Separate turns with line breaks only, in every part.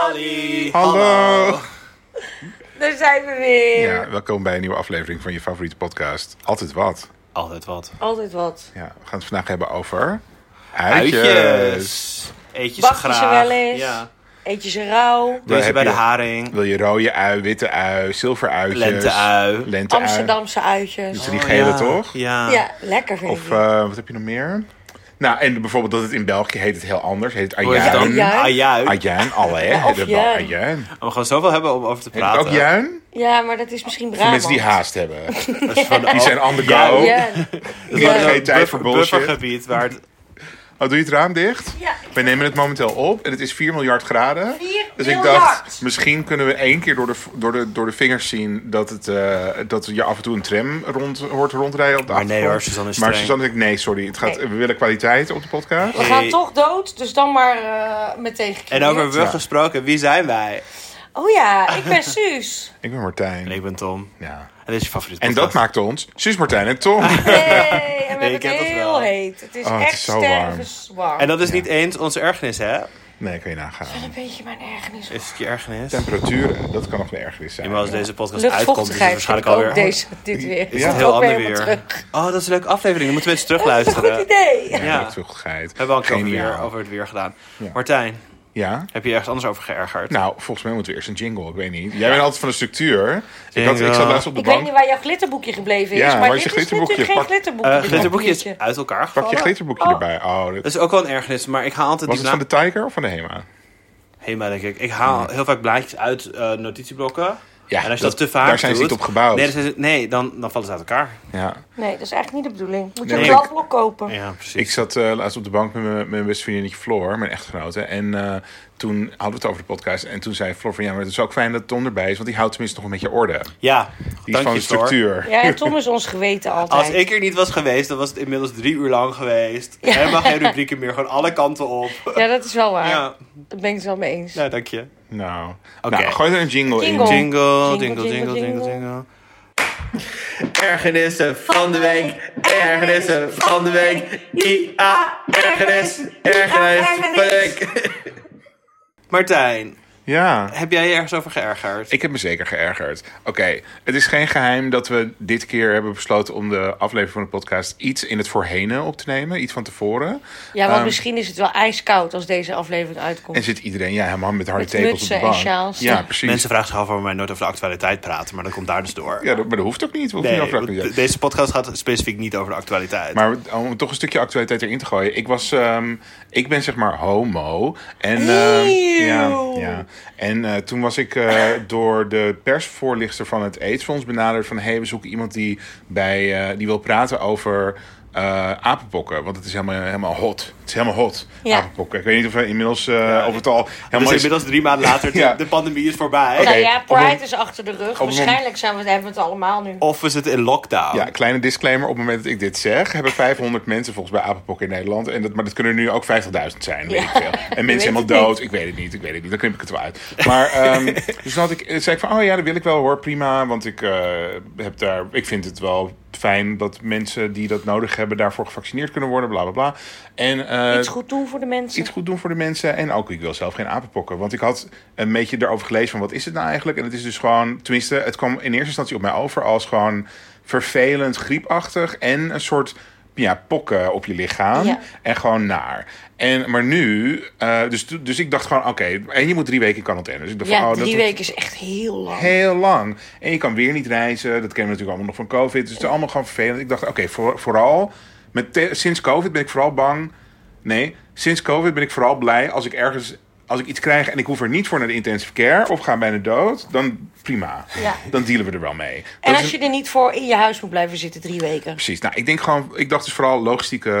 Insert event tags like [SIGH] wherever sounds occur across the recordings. Halli.
Hallo!
Daar zijn we weer.
Ja, welkom bij een nieuwe aflevering van je favoriete podcast. Altijd wat.
Altijd wat.
Altijd wat.
Ja, we gaan het vandaag hebben over...
Uitjes. Eet je ze
Bak je
graag.
ze wel eens?
Ja.
Eet je ze rauw?
Doe je ze
heb
bij de
je-
haring.
Wil je rode ui, witte ui, zilver uitjes?
Lenteui. Oh,
Lente
Amsterdamse uitjes.
Die gele,
ja.
toch?
Ja.
Ja, lekker vind
Of
ik.
eh, wat heb je nog meer? Nou, en bijvoorbeeld dat het in België heet het heel anders. Heet het
Hoe is het
ajuin.
dan? Ajuin.
Ajuin.
Ajuin, alle hè?
Ja, of
Hebben we wel
juin.
Ajuin. Heet
Maar We gaan zoveel hebben om over te
het
praten.
ook juin?
Ja, maar dat is misschien
Voor
Brabant.
mensen die haast hebben.
[LAUGHS]
Dat is van de-
Die zijn on the go.
Juin.
Ja.
Dat is van
Ja.
een
Geen tijd
buffer-
voor bullshit.
Buffergebied waar het...
Oh, doe je het raam dicht?
Ja.
We nemen het momenteel op en het is 4 miljard graden.
4
dus ik dacht,
miljard.
misschien kunnen we één keer door de, door de, door de vingers zien dat, het, eh, dat je af en toe een tram rond, hoort rondrijden op de
Maar nee
achtergrond.
hoor, Suzanne is
Maar
streng.
Suzanne zegt, nee, sorry, het gaat,
Nee.
we willen kwaliteit op de podcast.
We gaan toch dood, dus dan maar eh, meteen
En
gecreëerd.
over we
Ja.
gesproken, wie zijn wij?
Oh ja, ik
[LAUGHS]
ben Suus.
Ik ben Martijn.
En ik ben Tom.
Ja.
En dit is je favoriete
En dat
podcast.
maakt ons Suus, Martijn en
[LAUGHS]
Tom.
Hey, en we
ik
hebben
heb
het
dat
heel
wel.
heet. Het is
Oh, het
echt
is zo warm.
stervenswarm.
En dat is niet eens onze ergernis, hè?
nee, kan je nagaan.
Een beetje mijn ergernis.
Is het je ergernis? Ja,
Temperaturen, dat kan nog een ergernis zijn.
maar als deze podcast uitkomt, is het
Luchtvochtigheid vind
waarschijnlijk
ik ook
alweer...
deze, dit weer.
Is het
Ja.
Komt
heel
ook
ander
helemaal
weer.
terug.
Oh, dat is een leuke aflevering. Dan moeten mensen
Dat is een
terugluisteren.
[LAUGHS] goed idee.
Ja.
Ja, luchtvochtigheid.
We hebben al een keer over,
Geniaal.
weer- over het weer gedaan.
Ja.
Martijn,
Ja?
heb je ergens anders over geërgerd?
Nou, volgens mij moeten we eerst een jingle. Ik weet niet. Jij bent altijd van de structuur. Ik, had, ik
Jingle.
zat laatst op de
Ik weet
bank.
niet waar jouw glitterboekje gebleven is,
Ja,
maar
waar
dit is
is je glitterboekje?
natuurlijk geen
Pak-
glitterboekje.
Eh
dit
glitterboekje is
papiertje.
uit elkaar
Pak
gevallen.
je glitterboekje
Oh.
erbij. Oh, dat
Dat is ook wel een ergernis, maar ik haal altijd
Was
die
het van
bla-
de Tiger of van de Hema?
Hema, denk ik. Ik haal heel vaak blaadjes uit eh, notitieblokken.
Ja,
en als je
dat-
dat, te vaak
daar zijn ze
doet-
niet op gebouwd.
Nee, dat zijn ze- nee, dan, dan vallen ze uit elkaar.
Ja.
Nee, dat is eigenlijk niet de bedoeling. Moet je
Nee,
een
maar ik-
kladblok kopen.
Ja, precies.
Ik zat eh, laatst op de bank met mijn- mijn beste vriendinnetje Floor, mijn echtgenote. En eh, toen hadden we het over de podcast. En toen zei Floor van ja, maar het is ook fijn dat Tom erbij is, want die houdt tenminste nog een beetje orde.
ja,
Die is
dank
van
je,
de
Floor.
structuur.
Ja, en Tom is ons geweten altijd.
Als ik er niet was geweest, dan was het inmiddels drie uur lang geweest. Helemaal geen rubrieken meer, gewoon alle kanten op.
Ja, dat is wel waar.
Ja,
Daar ben ik het wel mee eens.
nou, dank je.
Nou,
Oké.
nou, gooi er een jingle,
Jingle.
in.
Jingle,
Jingle, jingle, jingle,
Ergernissen van de week, ergernissen van de week. IA, ergernis, ergernis van de week. [LAUGHS] Martijn,
Ja.
heb jij je ergens over geërgerd?
Ik heb me zeker geërgerd. Oké, het is geen geheim dat we dit keer hebben besloten om de aflevering van de podcast iets in het voorhenen op te nemen, iets van tevoren.
Ja, want
Ehm,
misschien is het wel ijskoud als deze aflevering uitkomt.
En zit iedereen, ja, helemaal met harde
Met
tepels op de
mutsen en
bank.
sjaals.
ja, precies.
Mensen vragen zich af waarom wij nooit over de actualiteit praten, maar dat komt daar dus door.
Ja, dat, maar dat hoeft ook niet. We hoeven
Nee,
niet afgelopen
want
te zijn.
de- deze podcast gaat specifiek niet over de actualiteit. Dus
Maar om toch een stukje actualiteit erin te gooien. Ik was, ehm, ik ben zeg maar homo. En, ehm,
Eeuw.
ja, ja. en eh, toen was ik eh, door de persvoorlichter van het AIDS-fonds benaderd van... hey, we zoeken iemand die, bij, eh, die wil praten over eh, apenpokken. Want het is helemaal, helemaal hot. Het is helemaal hot,
Ja.
apenpokken. Ik weet niet of we inmiddels, eh, of het al
dus
helemaal is-
inmiddels drie maanden later, de,
Ja.
de pandemie is voorbij.
nou
Oké,
ja,
op
Pride
een-
is achter de rug.
een
Waarschijnlijk zijn we, hebben we het allemaal nu.
Of we zitten in lockdown.
Ja, kleine disclaimer. Op het moment dat ik dit zeg, hebben 500 [LAUGHS] mensen volgens mij apenpokken in Nederland. En dat, maar dat kunnen er nu ook 50.000 zijn, weet
Ja.
ik veel. En mensen helemaal
het niet.
dood. Ik weet het niet, ik weet het niet. Dan knip ik het wel uit. Maar
[LAUGHS]
ehm, dus dan had ik, zei ik van, oh ja, dat wil ik wel hoor, prima. Want ik, eh, heb daar, ik vind het wel fijn dat mensen die dat nodig hebben... daarvoor gevaccineerd kunnen worden, bla bla bla. En, eh,
Iets goed doen voor de mensen.
iets goed doen voor de mensen. En ook, ik wil zelf geen apenpokken. Want ik had een beetje daarover gelezen van wat is het nou eigenlijk? En het is dus gewoon, tenminste, het kwam in eerste instantie op mij over als gewoon vervelend, griepachtig en een soort ja, pokken op je lichaam.
Ja.
En gewoon naar. En, maar nu, eh, dus, dus ik dacht gewoon, oké, en je moet drie weken in quarantaine. Dus ik dacht van,
ja,
oh, dat
drie
doet-
weken is echt heel lang.
heel lang. En je kan weer niet reizen. Dat kennen we natuurlijk allemaal nog van COVID. Dus het is allemaal gewoon vervelend. Ik dacht, oké, voor- vooral... Met te- sinds COVID ben ik vooral bang... Nee, sinds COVID ben ik vooral blij als ik ergens... Als ik iets krijg en ik hoef er niet voor naar de intensive care... of ga bijna dood, dan prima.
Ja.
Dan dealen we er wel mee. Dat
En
is-
als je er niet voor in je huis moet blijven zitten drie weken.
Precies. Nou, ik denk gewoon, ik dacht dus vooral logistieke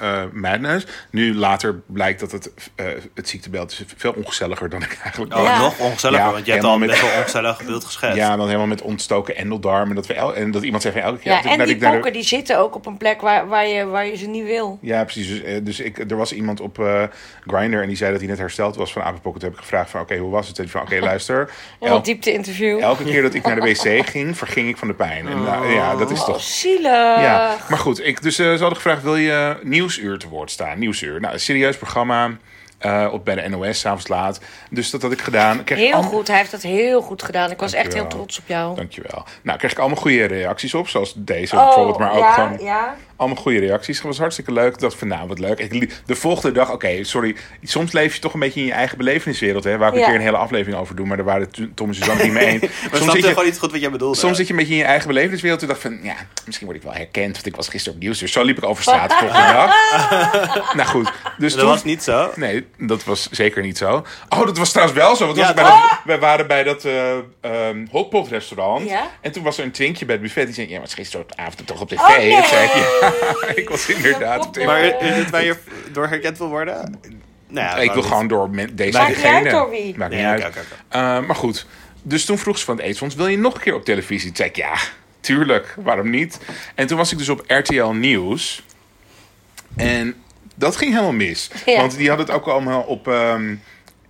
eh, madness. Nu later blijkt dat het, eh, het ziektebeeld is veel ongezelliger dan ik eigenlijk
Oh,
Ja.
nog ongezelliger,
Ja,
want je hebt
helemaal
al
met-
best wel ongezellig beeld geschetst.
Ja, dan helemaal met ontstoken endeldarm. En dat, we el- en dat iemand zegt van elke keer...
Ja,
dat ik-
en
dat
die
ik naar de-
pokken die zitten ook op een plek waar, waar, je, waar je ze niet wil.
Ja, precies. Dus, eh, dus ik, er was iemand op eh Grindr en die zei dat hij net hersteld was van apenpokken. Toen heb ik gevraagd van oké, hoe was het? En
[LAUGHS]
die van oké, luister.
Helemaal
elk-
diepte interview.
elke keer dat ik naar de wc ging, verging ik van de pijn. En nou, ja, dat is
Oh,
toch...
zielig.
Ja, maar goed. Ik, dus eh, ze hadden gevraagd, wil je Nieuwsuur te woord staan? Nieuwsuur. Nou, een serieus programma. eh, op, bij de NOS, s'avonds laat. Dus dat had ik gedaan. Ik kreeg
Heel
allemaal-
goed, hij heeft dat heel goed gedaan. Ik was echt heel
Dankjewel.
trots op jou.
Dankjewel. Nou, kreeg ik allemaal goede reacties op, zoals deze bijvoorbeeld, maar ook
Oh, ja,
gewoon
ja.
allemaal goede reacties. Het was hartstikke leuk. Dat van, nou, wat leuk. Ik li- de volgende dag, oké, sorry. Soms leef je toch een beetje in je eigen beleveniswereld, hè. Waar ik
Ja.
een keer een hele aflevering over doe, maar daar waren toen- Tom en Suzanne niet
[LAUGHS]
mee eens.
We
Soms zit
snapten
je-
gewoon niet goed wat jij bedoelde.
Soms zit je een beetje in je eigen belevingswereld. Toen dacht ik van, ja, misschien word ik wel herkend. Want ik was gisteren op nieuws. Dus zo liep ik
[LAUGHS]
over straat de volgende dag. nou goed. Dus
dat
toen-
was niet zo.
Nee, dat was zeker niet zo. Oh, dat was trouwens wel zo. Want
Ja,
was ik bij dat, wij waren bij dat eh ehm, hotpot restaurant.
Ja.
En toen was er een twinkje bij het buffet. Die zei, ja, maar het is gisteravond toch op tv.
Oh, nee.
Ik zei, ja, [LAUGHS] ik was inderdaad op tv.
Maar is het waar je door herkend wil worden? Nou ja,
ik wil
waarom
gewoon door men- deze
Maakt
en
niet
degene.
uit door wie.
Maakt
Nee,
niet
oké,
uit.
oké,
Eh, maar goed, dus toen vroeg ze van het Eetfonds... wil je nog een keer op televisie? Toen zei ik, ja, tuurlijk, waarom niet? En toen was ik dus op RTL Nieuws. En dat ging helemaal mis.
Ja.
Want die hadden het ook allemaal op... ehm,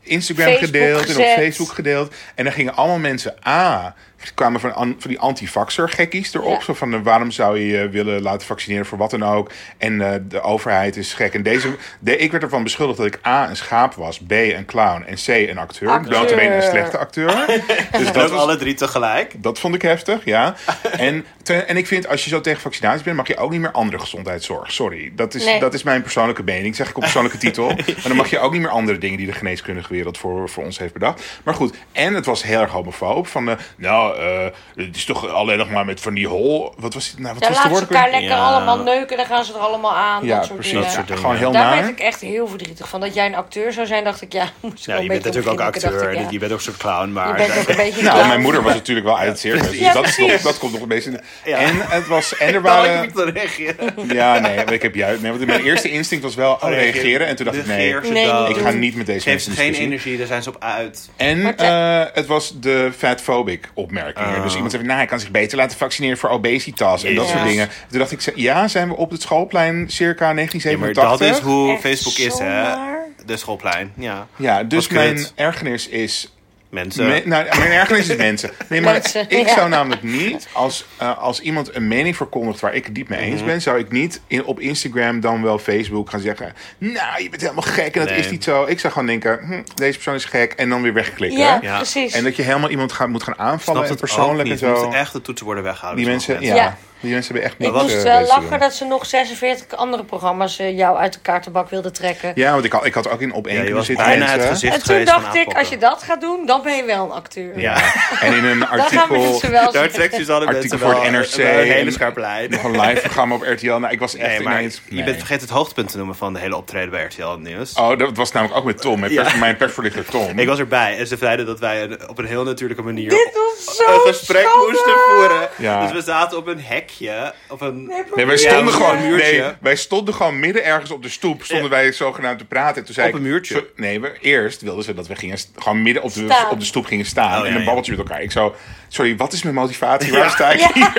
Instagram
Facebook
gedeeld en
gezet.
op Facebook gedeeld. En dan gingen allemaal mensen A. kwamen van, an- van die antivaxer gekkies erop.
Ja.
Zo van eh, waarom zou je je willen laten vaccineren voor wat dan ook. En eh, de overheid is gek. En deze, de, ik werd ervan beschuldigd dat ik A. een schaap was. B. een clown. En C. een acteur. Ik ben
Acteur.
alleen een slechte acteur. dus dat
Ook
was,
alle drie tegelijk.
dat vond ik heftig, ja. [LAUGHS] En, te- en ik vind, als je zo tegen vaccinatie bent, mag je ook niet meer andere gezondheidszorg. Sorry, dat is,
Nee.
dat is mijn persoonlijke mening, zeg ik
[LAUGHS]
op persoonlijke titel. Maar dan mag je ook niet meer andere dingen die de geneeskundige wereld voor, voor ons heeft bedacht. Maar goed, en het was heel erg homofoob. Van, eh, nou, eh, het is toch alleen nog maar met van die hol... Wat was het nou? Wat
Dan
was de
laten ze
woord?
elkaar lekker
Ja.
allemaal neuken, dan gaan ze er allemaal aan.
Ja,
dat soort
precies.
dingen.
Dat soort dingen.
Gewoon heel
Daar
naar.
werd ik echt heel verdrietig van. Dat jij een acteur zou zijn, dacht ik, ja. [LAUGHS] moest ik
Ja,
wel
je
een
bent
beetje
natuurlijk ook
om grinniken,
acteur.
dacht
Je
ik,
bent ook een soort clown,
ja.
maar...
Je bent
[LAUGHS]
ook een beetje
Nou,
klaar.
mijn moeder was natuurlijk wel uit het circus.
[LAUGHS]
Dus
Ja,
dat, is nog,
precies.
dat komt nog het meest in. de-
Ja.
En het was... En
[LAUGHS]
er
Kan
waren...
ik niet reageren?
Ja, nee, maar ik heb juist... Nee, want mijn eerste instinct was wel oh, reageren. En toen dacht ik, nee,
Reageer ze
Nee,
dan.
niet
ik ga niet met deze
Geef ze
mensen
geen
discussie.
energie, daar zijn ze op uit.
En
Maar te-
eh, het was de fatphobic opmerkingen.
Oh.
Dus iemand zei, nou, hij kan zich beter laten vaccineren voor obesitas en dat
Jezus.
soort dingen. Toen dacht ik, ja, zijn we op het schoolplein circa
Ja, maar dat is
1987?
hoe
Echt
Facebook is, hè?
zomaar.
De schoolplein, ja.
Ja, dus
Wat
mijn
kut.
ergernis is...
Mensen.
Me, nou, mijn ergernis is mensen. Nee, maar
Mensen,
ik
ja.
zou namelijk niet, als, eh, als iemand een mening verkondigt waar ik het diep mee eens
Mhm.
ben, zou ik niet in, op Instagram dan wel Facebook gaan zeggen, nou, je bent helemaal gek en dat
Nee.
is niet zo. Ik zou gewoon denken, hm, deze persoon is gek en dan weer wegklikken.
Ja,
Ja.
precies.
En dat je helemaal iemand gaat, moet gaan aanvallen en persoonlijk en
We
zo.
moeten echt de toetsen worden weggehouden.
Die
sommige
mensen, ja,
Ja.
die mensen hebben echt
ik
niet
was,
eh,
moest wel
deze
lachen
doen.
dat ze nog 46 andere programma's eh, jou uit de kaartenbak wilden trekken.
Ja, want ik had, ik had ook in op één
Ja, je
kunnen
was
zitten.
bijna
mensen.
het gezicht
En toen
geweest van
dacht ik,
aanpakken.
als je dat gaat doen, dan ben je wel een acteur.
[LAUGHS]
Ja,
En in een
Dan gaan we
artikel,
dus wel
daar trekt Suzanne
Artikel
mensen
voor
wel
het NRC
een hele
en-
scherpe lijn.
nog een live programma op RTL. Nou, ik was echt
Nee, maar
ineens...
je bent vergeten het hoogtepunt te noemen van de hele optreden bij RTL Nieuws.
Oh, dat was namelijk ook met Tom, mijn,
Ja.
pers, mijn persvoorlichter Tom.
Ik was erbij en ze zeiden dat wij een- op een heel natuurlijke manier
Dit was zo
een gesprek
schandalig.
moesten voeren.
Ja.
Dus we zaten op een hekje. Of een...
Nee, maar-
Nee, wij
Ja,
stonden,
op een
gewoon,
muurtje.
nee, wij stonden gewoon midden ergens op de stoep. Stonden wij zogenaamd te praten. En Toen zei
Op
ik-
een muurtje.
zo- nee, we, eerst wilden ze dat we gingen, st- gewoon midden op de,
Staan.
op de stoep gingen
Oh,
staan.
ja,
en een
ja.
babbeltje met elkaar. Ik zo, sorry, wat is mijn motivatie? Waar sta ik hier?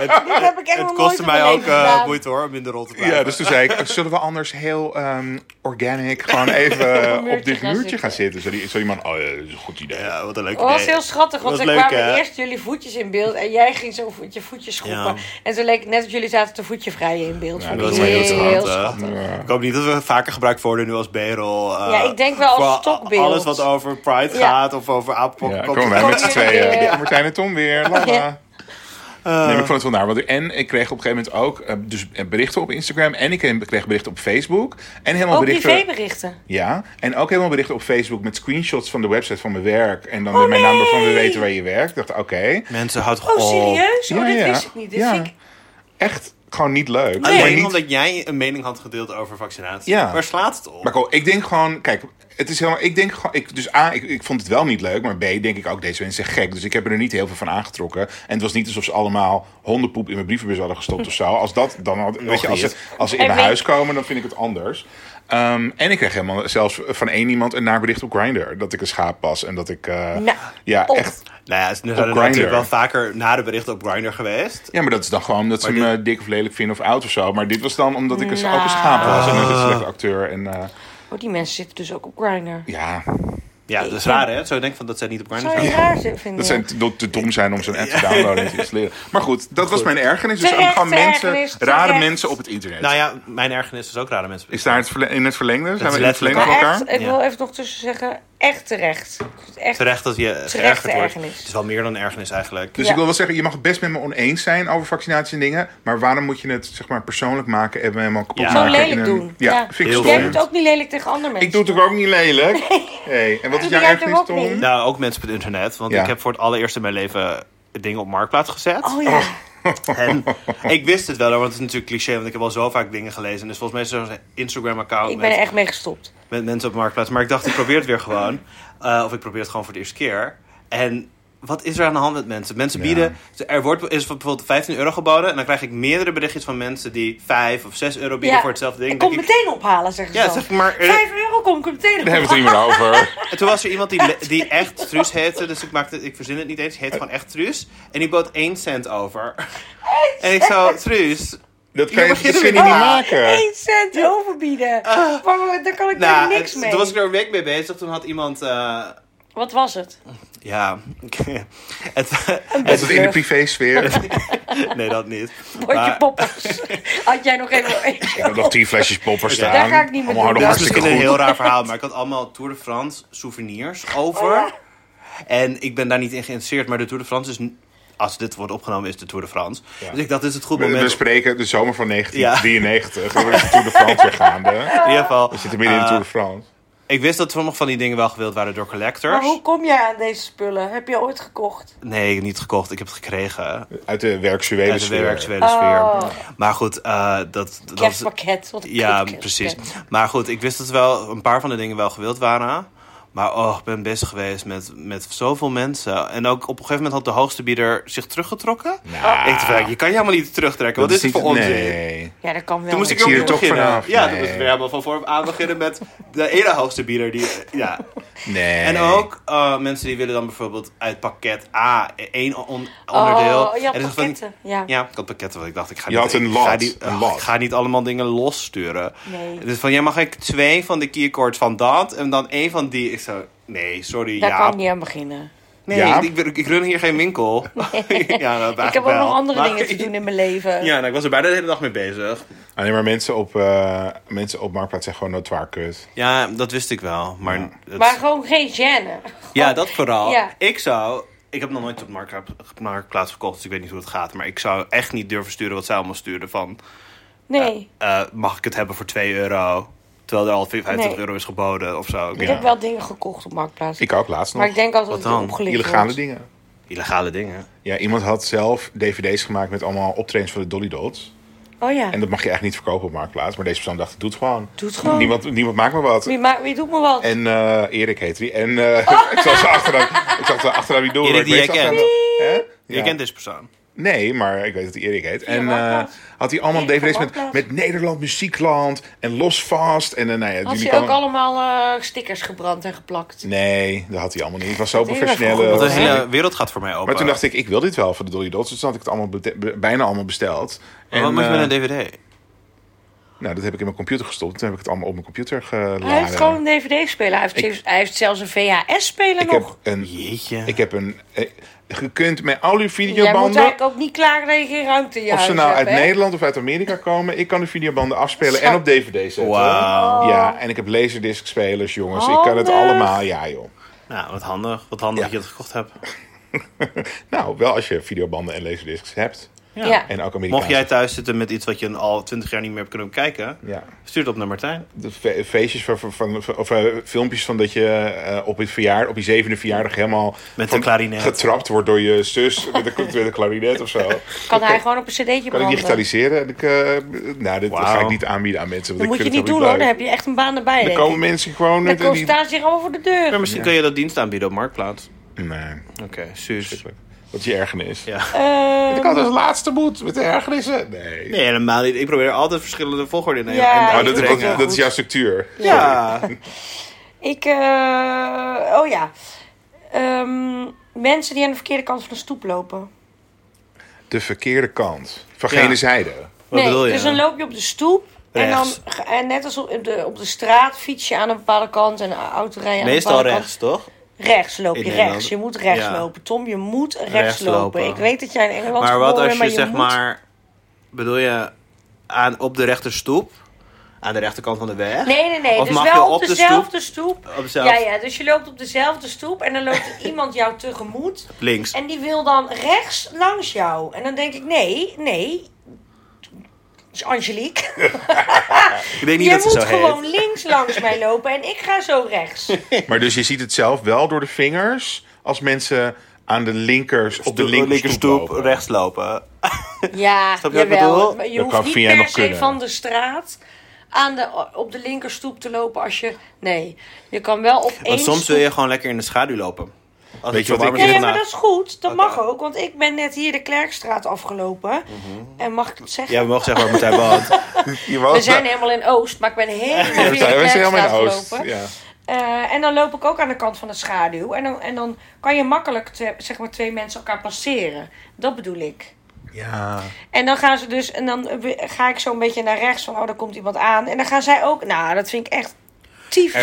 Dit heb ik
Het
echt nog nooit
kostte
in
mij
mijn
ook
leven
eh,
gedaan.
moeite hoor om in de rol te blijven.
Ja, dus toen zei ik, zullen we anders heel ehm, organic
[LAUGHS]
gewoon even eh,
muurtje
op dit
gaan
muurtje
zitten.
gaan zitten? Zo die, zo die man, oh ja, dat is een goed idee.
Ja, wat een leuk
Het was
idee.
heel schattig, want
Dat
er
was leuk,
kwamen
hè?
eerst jullie voetjes in beeld en jij ging zo met je voetjes schoppen.
Ja.
En toen leek het net dat jullie zaten te voetje vrijen in beeld. Vond
dat
ik
was heel
schattig. Ik hoop niet dat we vaker gebruikt worden nu als B-roll. eh,
Ja, ik denk wel als
voor a-
stokbeeld.
Alles wat over Pride
Ja.
gaat of over Apel.
Ja, komen wij met z'n tweeën.
Ja.
Martijn en Tom weer.
Ja. Eh.
Lala. Nee, maar ik vond het wel naar. Want ik- en ik kreeg op een gegeven moment ook eh, dus eh, berichten op Instagram. En ik kreeg kreeg berichten op Facebook. En helemaal
Ook
berichten.
privéberichten.
Ja, en ook helemaal berichten op Facebook met screenshots van de website van mijn werk. En dan
Oh,
weer mijn
nee!
naam van we weten waar je werkt. Ik dacht, oké.
Mensen houdt
Oh, serieus? Oh,
Ja,
dit
ja.
wist ik niet. Dit
Ja.
vind ik...
Echt gewoon niet leuk.
Nee.
Maar
Alleen
niet-
omdat jij een mening had gedeeld over vaccinatie.
Ja.
Waar slaat het op?
Maar kom, ik denk gewoon, kijk, het is helemaal, ik denk gewoon, ik, dus A, ik, ik vond het wel niet leuk, maar B, denk ik ook, deze mensen zijn gek. Dus ik heb er niet heel veel van aangetrokken. En het was niet alsof ze allemaal hondenpoep in mijn brievenbus hadden gestopt of zo. Als dat dan, had, weet je, als ze,
niet.
als ze
En
in mijn
weet-
huis komen, dan vind ik het anders. Ehm, en ik kreeg helemaal zelfs van één iemand een naarbericht op Grindr. Dat ik een schaap was en dat ik, eh,
Nou,
ja,
op.
echt.
nou ja, er zijn er
Grindr.
natuurlijk wel vaker nare berichten op Grindr geweest.
Ja, maar dat is dan gewoon dat ze
Maar
me dik of lelijk vinden of oud of zo. Maar dit was dan omdat ik een, ook een
Nou.
schaap was en een slechte acteur. En eh,
Oh, die mensen zitten dus ook op Grindr.
ja,
Ja, dat is raar hè? Zo denk ik van dat zij niet op elkaar
Zou je
zijn.
het raar vinden?
Dat zijn te, te dom zijn om zo'n app te downloaden en te installeren. Maar goed, dat was mijn ergernis. Dus
Terecht,
gewoon
terecht,
mensen,
terecht,
rare
terecht.
mensen op het internet.
Nou ja, mijn ergernis is ook rare mensen.
Is daar het verle- in het verlengde? Zijn
is
we in het verlengde
letterlijk
van
maar
elkaar?
echt, ik
Ja.
wil even nog tussen zeggen, echt terecht. Ik vind het Echt,
Terecht dat je geërgerd wordt.
ergernis.
Het is wel meer dan ergernis eigenlijk.
Dus
Ja.
ik wil wel zeggen, je mag het best met me oneens zijn over vaccinaties en dingen. Maar waarom moet je het zeg maar, persoonlijk maken en me helemaal kapot
Ja.
maken?
Zo
lelijk
in een-
doen.
Ja,
Ja.
vind ik
Heel
stom.
Jij doet het ook niet lelijk tegen andere mensen.
Ik doe het toch ook niet lelijk? Hey, en wat is
Doe
jouw
jij het
ergernis,
ook niet?
Tom?
Nou, ook mensen op het internet. Want
Ja.
ik heb voor het allereerst in mijn leven dingen op Marktplaats gezet.
Oh ja.
En ik wist het wel, hoor, want het is natuurlijk cliché, want ik heb al zo vaak dingen gelezen. Dus volgens mij is er zo'n Instagram-account
Ik ben er
met,
echt mee gestopt.
met mensen op Marktplaats. Maar ik dacht, ik probeer het weer gewoon. Eh, of ik probeer het gewoon voor de eerste keer. En wat is er aan de hand met mensen? Mensen bieden, er wordt is bijvoorbeeld 15 euro geboden. En dan krijg ik meerdere berichtjes van mensen die 5 of 6 euro bieden
Ja.
voor hetzelfde ding.
Ik kom
Denk ik-
meteen ophalen, zeggen ze
Ja,
dan.
zeg maar, eh,
Vijf euro kom ik er meteen
Daar hebben
ophalen.
we het niet meer over.
En toen was er iemand die, le- die echt Truus heette, dus ik, maakte, ik verzin het niet eens. Die heette gewoon echt Truus. En die bood 1 cent over. En ik zou, Truus.
[LAUGHS] Dat
Ja,
kan je
begin
dat
er
kun je
weer
niet
Oh,
niet
maken.
Eén Ah, cent overbieden. maar daar kan ik
Nou,
weer niks
en
mee.
toen was ik er een week mee bezig. Toen had iemand. eh,
Wat was het?
ja. [LAUGHS] het,
Was het in de
Vlug. [LAUGHS]
privésfeer?
[LAUGHS] nee, dat niet.
Potje
Maar-
poppers. [LAUGHS] Had jij nog even...
Ik nog tien flesjes popper staan.
Daar ga ik niet meer
Allemaal
Dat
doen.
nog
is
hartstikke
misschien een
goed.
heel raar verhaal, maar ik had allemaal Tour de France souvenirs over. En ik ben daar niet in geïnteresseerd, maar de Tour de France is. n- Als dit wordt opgenomen, is de Tour de France.
Ja.
Dus ik dacht, dit is het goed
We,
moment.
we
om-
spreken de zomer van 1993. Dan is de Tour de France
[LAUGHS]
weer gaande.
In ieder geval.
We zitten midden in de
eh,
Tour de France.
Ik wist dat sommige van die dingen wel gewild waren door collectors.
Maar hoe kom jij aan deze spullen? Heb je ooit gekocht?
Nee, niet gekocht. Ik heb het gekregen.
Uit de werksuele
Uit de
sfeer.
werksuele
Oh.
sfeer. Maar goed, eh, dat... dat
Kerstpakket. Wat een
ja,
kut
precies.
kerstpakket.
Maar goed, ik wist dat wel een paar van de dingen wel gewild waren. Maar oh, ik ben bezig geweest met, met zoveel mensen. En ook op een gegeven moment had de hoogste bieder zich teruggetrokken.
Nou.
ik dacht, eigenlijk, je kan je helemaal niet terugtrekken. Wat
Dat
is dit
niet-
voor onzin?
Nee.
Ja, dat kan wel.
Toen moest ik,
zie
weer
er toch
opnieuw beginnen.
vanaf.
Ja,
Nee.
toen moest ik weer helemaal van vooraf aan beginnen met de ene hoogste bieder. Die, ja.
nee.
En ook eh, mensen die willen dan bijvoorbeeld uit pakket A één on- onderdeel.
Oh, ja,
En dan
pakketten.
Van,
ja.
ja, ik had pakketten, want ik dacht, ik ga
Je
niet,
had een
ik
lot,
Ga niet,
een
oh,
lot.
Ik ga niet allemaal dingen lossturen.
Nee.
Dus van, jij mag ik twee van de keycords van dat en dan één van die. Ik zo, nee, sorry,
Daar
Jaap.
kan ik niet aan beginnen.
Nee,
Jaap?
Ik, ik, ik run hier geen
[LAUGHS]
winkel. [LAUGHS] ja, nou, dat
Ik heb ook nog andere
[LAUGHS]
dingen te doen in mijn leven.
Ja, nou, ik was er bijna de hele dag mee bezig.
Alleen maar mensen op, eh, mensen op Marktplaats zijn gewoon notoire kut.
Ja, dat wist ik wel. Maar, het-
Maar gewoon geen gêne.
Ja, dat vooral.
Oh, Ja.
Ik zou... Ik heb nog nooit op markt- Marktplaats verkocht, dus ik weet niet hoe het gaat. Maar ik zou echt niet durven sturen wat zij allemaal stuurden. Van,
Nee.
eh, mag ik het hebben voor 2 euro? Terwijl er al 50
Nee.
euro is geboden of zo. Ik
Ik
weet
Ja.
niet.
heb wel dingen gekocht op Marktplaats.
Ik ook laatst nog.
maar ik denk altijd
Wat
dat
dan?
het opgelicht
Illegale
wordt.
dingen.
Illegale dingen.
Ja, iemand had zelf dvd's gemaakt met allemaal optredens van de Dolly Dots.
Oh ja.
En dat mag je eigenlijk niet verkopen op Marktplaats. Maar deze persoon dacht, doe het gewoon.
Doe het gewoon.
Niemand, niemand maakt me wat.
Wie, ma- wie doet me wat?
En eh, Erik heet die. En eh,
Oh.
[LAUGHS] ik zag ze achteraan, ik zag ze achteraan wie door.
Erik die jij kent.
Je
Je kent deze persoon.
Nee, maar ik weet dat hij Erik heet. En eh,
Marktplaats.
had hij allemaal
Erik van
dvd's met,
Marktplaats.
met Nederland, Muziekland en Los Vast. En eh, nou ja,
Had
jullie
ze
kwamen-
ook allemaal eh, stickers gebrand en geplakt?
Nee, dat had hij allemaal niet. Het was zo
Dat deed hij
professioneel.
wel
Want
goed.
de hele wereld gaat voor mij open.
Maar toen dacht ik, ik wil dit wel voor de Dolly Dots. Dus toen had ik het allemaal bete- be- bijna allemaal besteld.
Maar wat moet je
eh,
met een dvd?
Nou, dat heb ik in mijn computer gestopt. Toen heb ik het allemaal op mijn computer geladen.
Hij heeft gewoon een DVD-speler. Hij, heeft
Ik-
zelfs- hij heeft zelfs een VHS-speler
ik
nog.
heb een,
Jeetje.
ik heb een. eh, Je kunt met al uw
Jij moet
videobanden.
eigenlijk ook niet klagen dat je geen ruimte in dus je
Of ze
huis
nou
hebt,
uit
hè?
Nederland of uit Amerika komen, ik kan de videobanden afspelen en op DVD zetten.
Wauw.
Ja, en ik heb laserdisc spelers, jongens.
Oh,
Ik kan het
Handig.
allemaal, ja joh. [LAUGHS]
Nou, wat handig. Wat handig
Ja.
dat je het gekocht hebt.
Nou, wel als je videobanden en laserdiscs hebt.
Ja.
En ook
Mocht
Amerikaanse.
jij thuis zitten met iets wat je al 20 jaar niet meer hebt kunnen bekijken,
Ja.
stuur het op naar Martijn.
De fe- feestjes van, van, van- of eh, filmpjes van dat je eh, op, het verjaar, op je zevende verjaardag helemaal
Met
van-
een klarinet.
getrapt wordt door je zus met een, met een
[LAUGHS]
klarinet of zo.
Kan hij gewoon op een cd'tje
Kan ik
branden.
digitaliseren? En ik, eh, nou, dit
Wauw.
ga ik niet aanbieden aan mensen.
Dat moet
Want ik
je
vind
niet
het
doen
ook
hoor, dan
leuk.
heb je echt een baan erbij.
Dan
denk ik.
komen mensen gewoon...
Dan
met
komen
die-
staan ze hier allemaal voor de
Maar
deur.
misschien kun je dat dienst aanbieden op Marktplaats.
Nee.
Oké, zus.
Verschrikkelijk. Wat je ergernis.
Ja.
Eh,
Ik had als laatste boet met de ergernissen. Nee.
Nee, helemaal niet. Ik probeer altijd verschillende volgorde in
Ja,
in-
Oh,
ik
in te
dat, is-
vind het
brengen.
wel
dat is
goed.
jouw structuur.
Ja.
ik, eh, oh ja. Ehm, mensen die aan de verkeerde kant van de stoep lopen.
De verkeerde kant. Van
Ja.
gene zijde.
Wat
nee,
bedoel je?
dus dan loop je op de stoep En, dan,
Rechts.
ge- en net als op de, op de straat fiets je aan een bepaalde kant en auto rijden aan een
Meestal
bepaalde
rechts, toch?
kant. Rechts loop
In
je
Nederland.
rechts. Je moet rechts
Ja.
lopen. Tom, je moet rechts,
Rechts
lopen.
lopen.
Ik weet dat jij in Engeland
Maar wat
geboren
als
bent,
je zeg
moet-
maar... Bedoel je aan, op de rechterstoep? Aan de rechterkant van de weg?
Nee, nee, nee.
Of
dus
mag
wel
je
op,
op de
dezelfde stoep.
Op dezelfde-
Ja, ja. Dus je loopt op dezelfde stoep en dan loopt
[LAUGHS]
er iemand jou tegemoet.
Links.
En die wil dan rechts langs jou. En dan denk ik, nee, nee. Het is Angelique.
Ik denk niet
Jij
dat ze
moet
zo
gewoon
heet. [LAUGHS]
links langs mij lopen en ik ga zo rechts.
Maar dus je ziet het zelf wel door de vingers als mensen aan de linkers op de linkerstoep lopen.
rechts lopen.
Ja,
Snap je wat ik bedoel?
Maar Je
Dat
hoeft
kan
niet
via
per
nog
se
kunnen.
van de straat aan de, op de linkerstoep te lopen als je... Nee, je kan wel op één
Want soms wil
stoep...
je gewoon lekker in de schaduw lopen. Als
Weet
het
je
zo
wat
warm
ik-
is
Nee, ja,
vandaag.
maar dat is goed. Dat
Oké.
mag ook, want ik ben net hier de Klerkstraat afgelopen. En mag ik het
Mhm.
zeggen?
Ja, we mogen zeggen waar Martijn woont.
Je
We zijn helemaal in Oost, maar ik ben helemaal weer
Ja, we
de
zijn we zijn helemaal in
Klerkstraat
Oost.
gelopen.
Ja.
Eh, en dan loop ik ook aan de kant van de schaduw. En dan, en dan kan je makkelijk te- zeg maar, twee mensen elkaar passeren. Dat bedoel ik.
ja.
En dan gaan ze dus, en dan eh, we- ga ik zo een beetje naar rechts van, oh, daar komt iemand aan. En dan gaan zij ook, nou, dat vind ik echt tyfus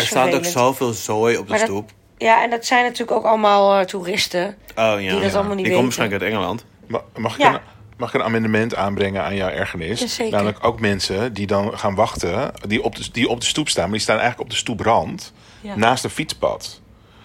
[LAUGHS] Er staat ook
vervelend.
zoveel zooi op de
Maar dat-
stoep.
Ja, en dat zijn natuurlijk ook allemaal eh, toeristen.
Oh ja. ja.
dat allemaal
Die
niet
komen
weten.
waarschijnlijk uit Engeland.
Ma- Mag ik,
Ja.
een, mag ik een amendement aanbrengen aan jouw ergernis?
Ja, zeker.
Namelijk ook mensen die dan gaan wachten, die op, de, die op de stoep staan, maar die staan eigenlijk op de stoeprand
Ja.
naast een fietspad.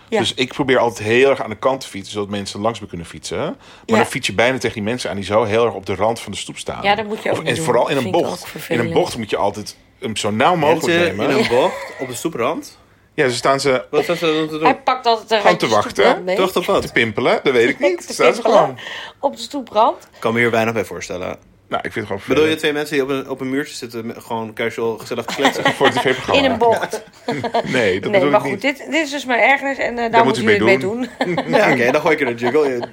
Ja.
Dus ik probeer altijd heel erg aan de kant te fietsen, zodat mensen langs me kunnen fietsen. Maar
Ja.
dan fiets je bijna tegen die mensen aan die zo heel erg op de rand van de stoep staan.
Ja, dat moet je ook
Of-
niet
En
doen.
vooral in
Dat
een
vind ik ook
bocht. In
vervelend.
een bocht moet je altijd hem zo nauw mogelijk
Mensen in
nemen.
een bocht op de stoeprand.
Ja, ze staan ze
Wat zou ze dan te
Hij
doen?
pakt altijd een
Gewoon te
randje
wachten.
stoeprand mee.
Toch op
te
wat?
pimpelen, dat weet ik niet.
[LAUGHS] Te
Staan ze
pimpelen
gewoon.
Op de stoeprand.
Ik kan me hier weinig bij voorstellen.
Nou, ik vind het gewoon
Bedoel je
vervelend.
twee mensen die op een, op een muurtje zitten, met- gewoon casual gezellig te
[LAUGHS]
kletsen?
Voor het tv-programma.
In een bocht.
Nee, dat
nee,
Oh, bedoel
maar
ik
goed,
niet.
dit, dit is dus mijn ergernis en eh, daar
moet
moeten
u
jullie
mee
mee doen. [LAUGHS]
ja, oké, dan gooi ik er een juggle in.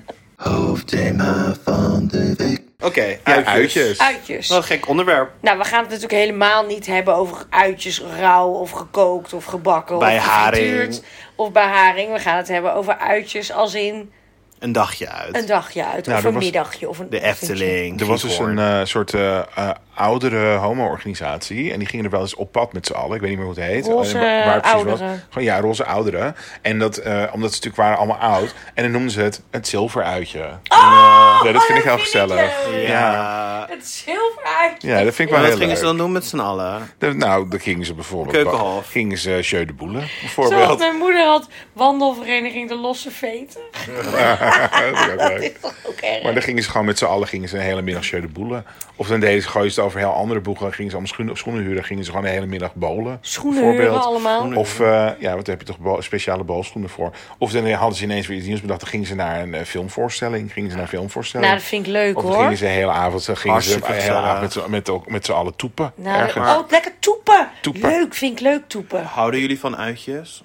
Hoofdthema van de week.
Oké,
Ja,
uitjes.
uitjes.
Uitjes.
Wat een gek onderwerp.
Nou, we gaan het natuurlijk helemaal niet hebben over uitjes rauw of gekookt of gebakken.
Bij
of
haring.
gefrituurd Of bij haring. We gaan het hebben over uitjes als in
Een dagje uit.
een dagje uit.
Nou,
of
dat
een
was-
middagje. Of een
De Efteling.
Er was dus
Giethoorn.
een eh, soort eh, eh, oudere homo-organisatie. En die gingen er wel eens op pad met z'n allen. Ik weet niet meer hoe het heet.
Roze,
Eh, het precies
ouderen.
was. Gewoon, ja, roze ouderen. En dat, eh, omdat ze natuurlijk waren allemaal oud. En dan noemden ze het het zilveruitje.
Oh,
ja, dat vind ik heel gezellig.
leuk.
Ja.
Het zilveruitje.
Ja, dat vind ik
Maar wat
wel eh, heel
gingen
leuk.
ze dan doen met z'n allen?
De- nou, dan gingen ze bijvoorbeeld...
Keukenhof.
Gingen ze Jeu de Boele,
Zoals
bijvoorbeeld.
mijn moeder had wandelvereniging De Losse Veten.
[LAUGHS]
[LAUGHS]
Dat is ook leuk.
Dat is toch ook
Maar dan
erg.
gingen ze gewoon met z'n allen gingen ze een hele middag Jeu de Boele. Of dan deden ze, gooien ze het over heel andere boeken. Gingen ze allemaal schoenen, schoenen huren. Gingen ze gewoon een hele middag bolen.
Schoenen
bijvoorbeeld.
huren allemaal.
Of, eh, ja, wat heb je toch bo- speciale bolschoenen voor? Of dan hadden ze ineens weer iets nieuws bedacht. Dan gingen ze naar een eh, filmvoorstelling. Gingen ze naar filmvoorstelling.
Nou, dat vind ik leuk
of dan
hoor.
gingen ze de hele avond, dan gingen ze de
Hartstikke
hele avond
gezellig.
met, z'n- met, ook- met z'n allen toepen.
Nou,
ergens.
oh, lekker toepen.
Toepen.
Leuk, vind ik leuk toepen.
Houden jullie van uitjes?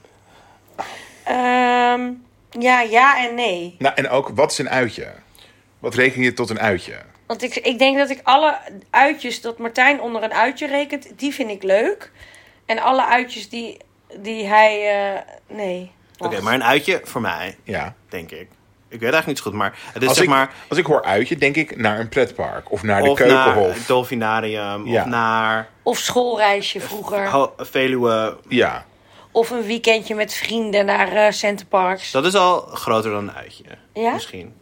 Ehm, ja, ja en nee.
Nou, en ook, wat is een uitje? Wat reken je tot een uitje?
Want ik, ik denk dat ik alle uitjes dat Martijn onder een uitje rekent, die vind ik leuk. En alle uitjes die, die hij. eh, nee.
Oké,
wacht.
maar een uitje voor mij,
Ja.
denk ik. Ik weet eigenlijk niet zo goed, maar het is
Als,
Dus zeg
ik,
maar...
als ik hoor uitje, denk ik naar een pretpark. Of naar de
Of naar
keukenhof.
het dolfinarium,
Ja.
of naar
Of schoolreisje vroeger.
ho- Veluwe.
Ja.
Of een weekendje met vrienden naar eh Center Parks.
Dat is al groter dan een uitje,
Ja?
misschien.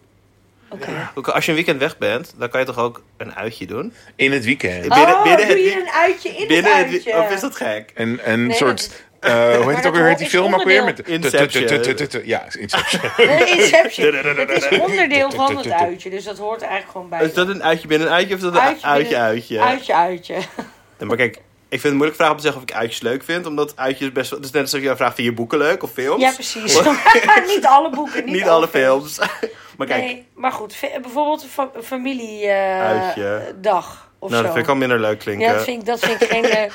Oké.
Ook Als je een weekend weg bent, dan kan je toch ook een uitje doen?
In het weekend.
Ah, binnen-
oh,
binnen
doe
het-
je een uitje in
Binnen
het
het
uitje.
wi- Of is dat gek?
Een, een
Nee,
soort. eh, hoe heet het
dat
ook weer? Heet die
is
film ook weer? Met
onderdeel. Inception.
tut, tut, tut, tut, Ja, is Inception.
Nee,
[LAUGHS]
Inception. Het is onderdeel van het uitje, dus dat hoort eigenlijk gewoon bij.
Is dat een uitje binnen een uitje of is dat een uitje, uitje,
binnen-
uitje?
Uitje, uitje.
Nee, maar kijk, ik vind het moeilijk vraag om te zeggen of ik uitjes leuk vind. Omdat uitjes best wel... Het is net alsof je vraagt, vind je boeken leuk of films?
Ja, precies. [LAUGHS] niet alle boeken. Niet,
Niet alle films. [LAUGHS] maar kijk,
Nee, maar goed, ve- bijvoorbeeld een fa- familiedag
Uitje.
dag of
nou,
zo.
dat vind ik al minder leuk klinken.
ja, dat vind ik, dat vind ik geen.
[LAUGHS]
eh,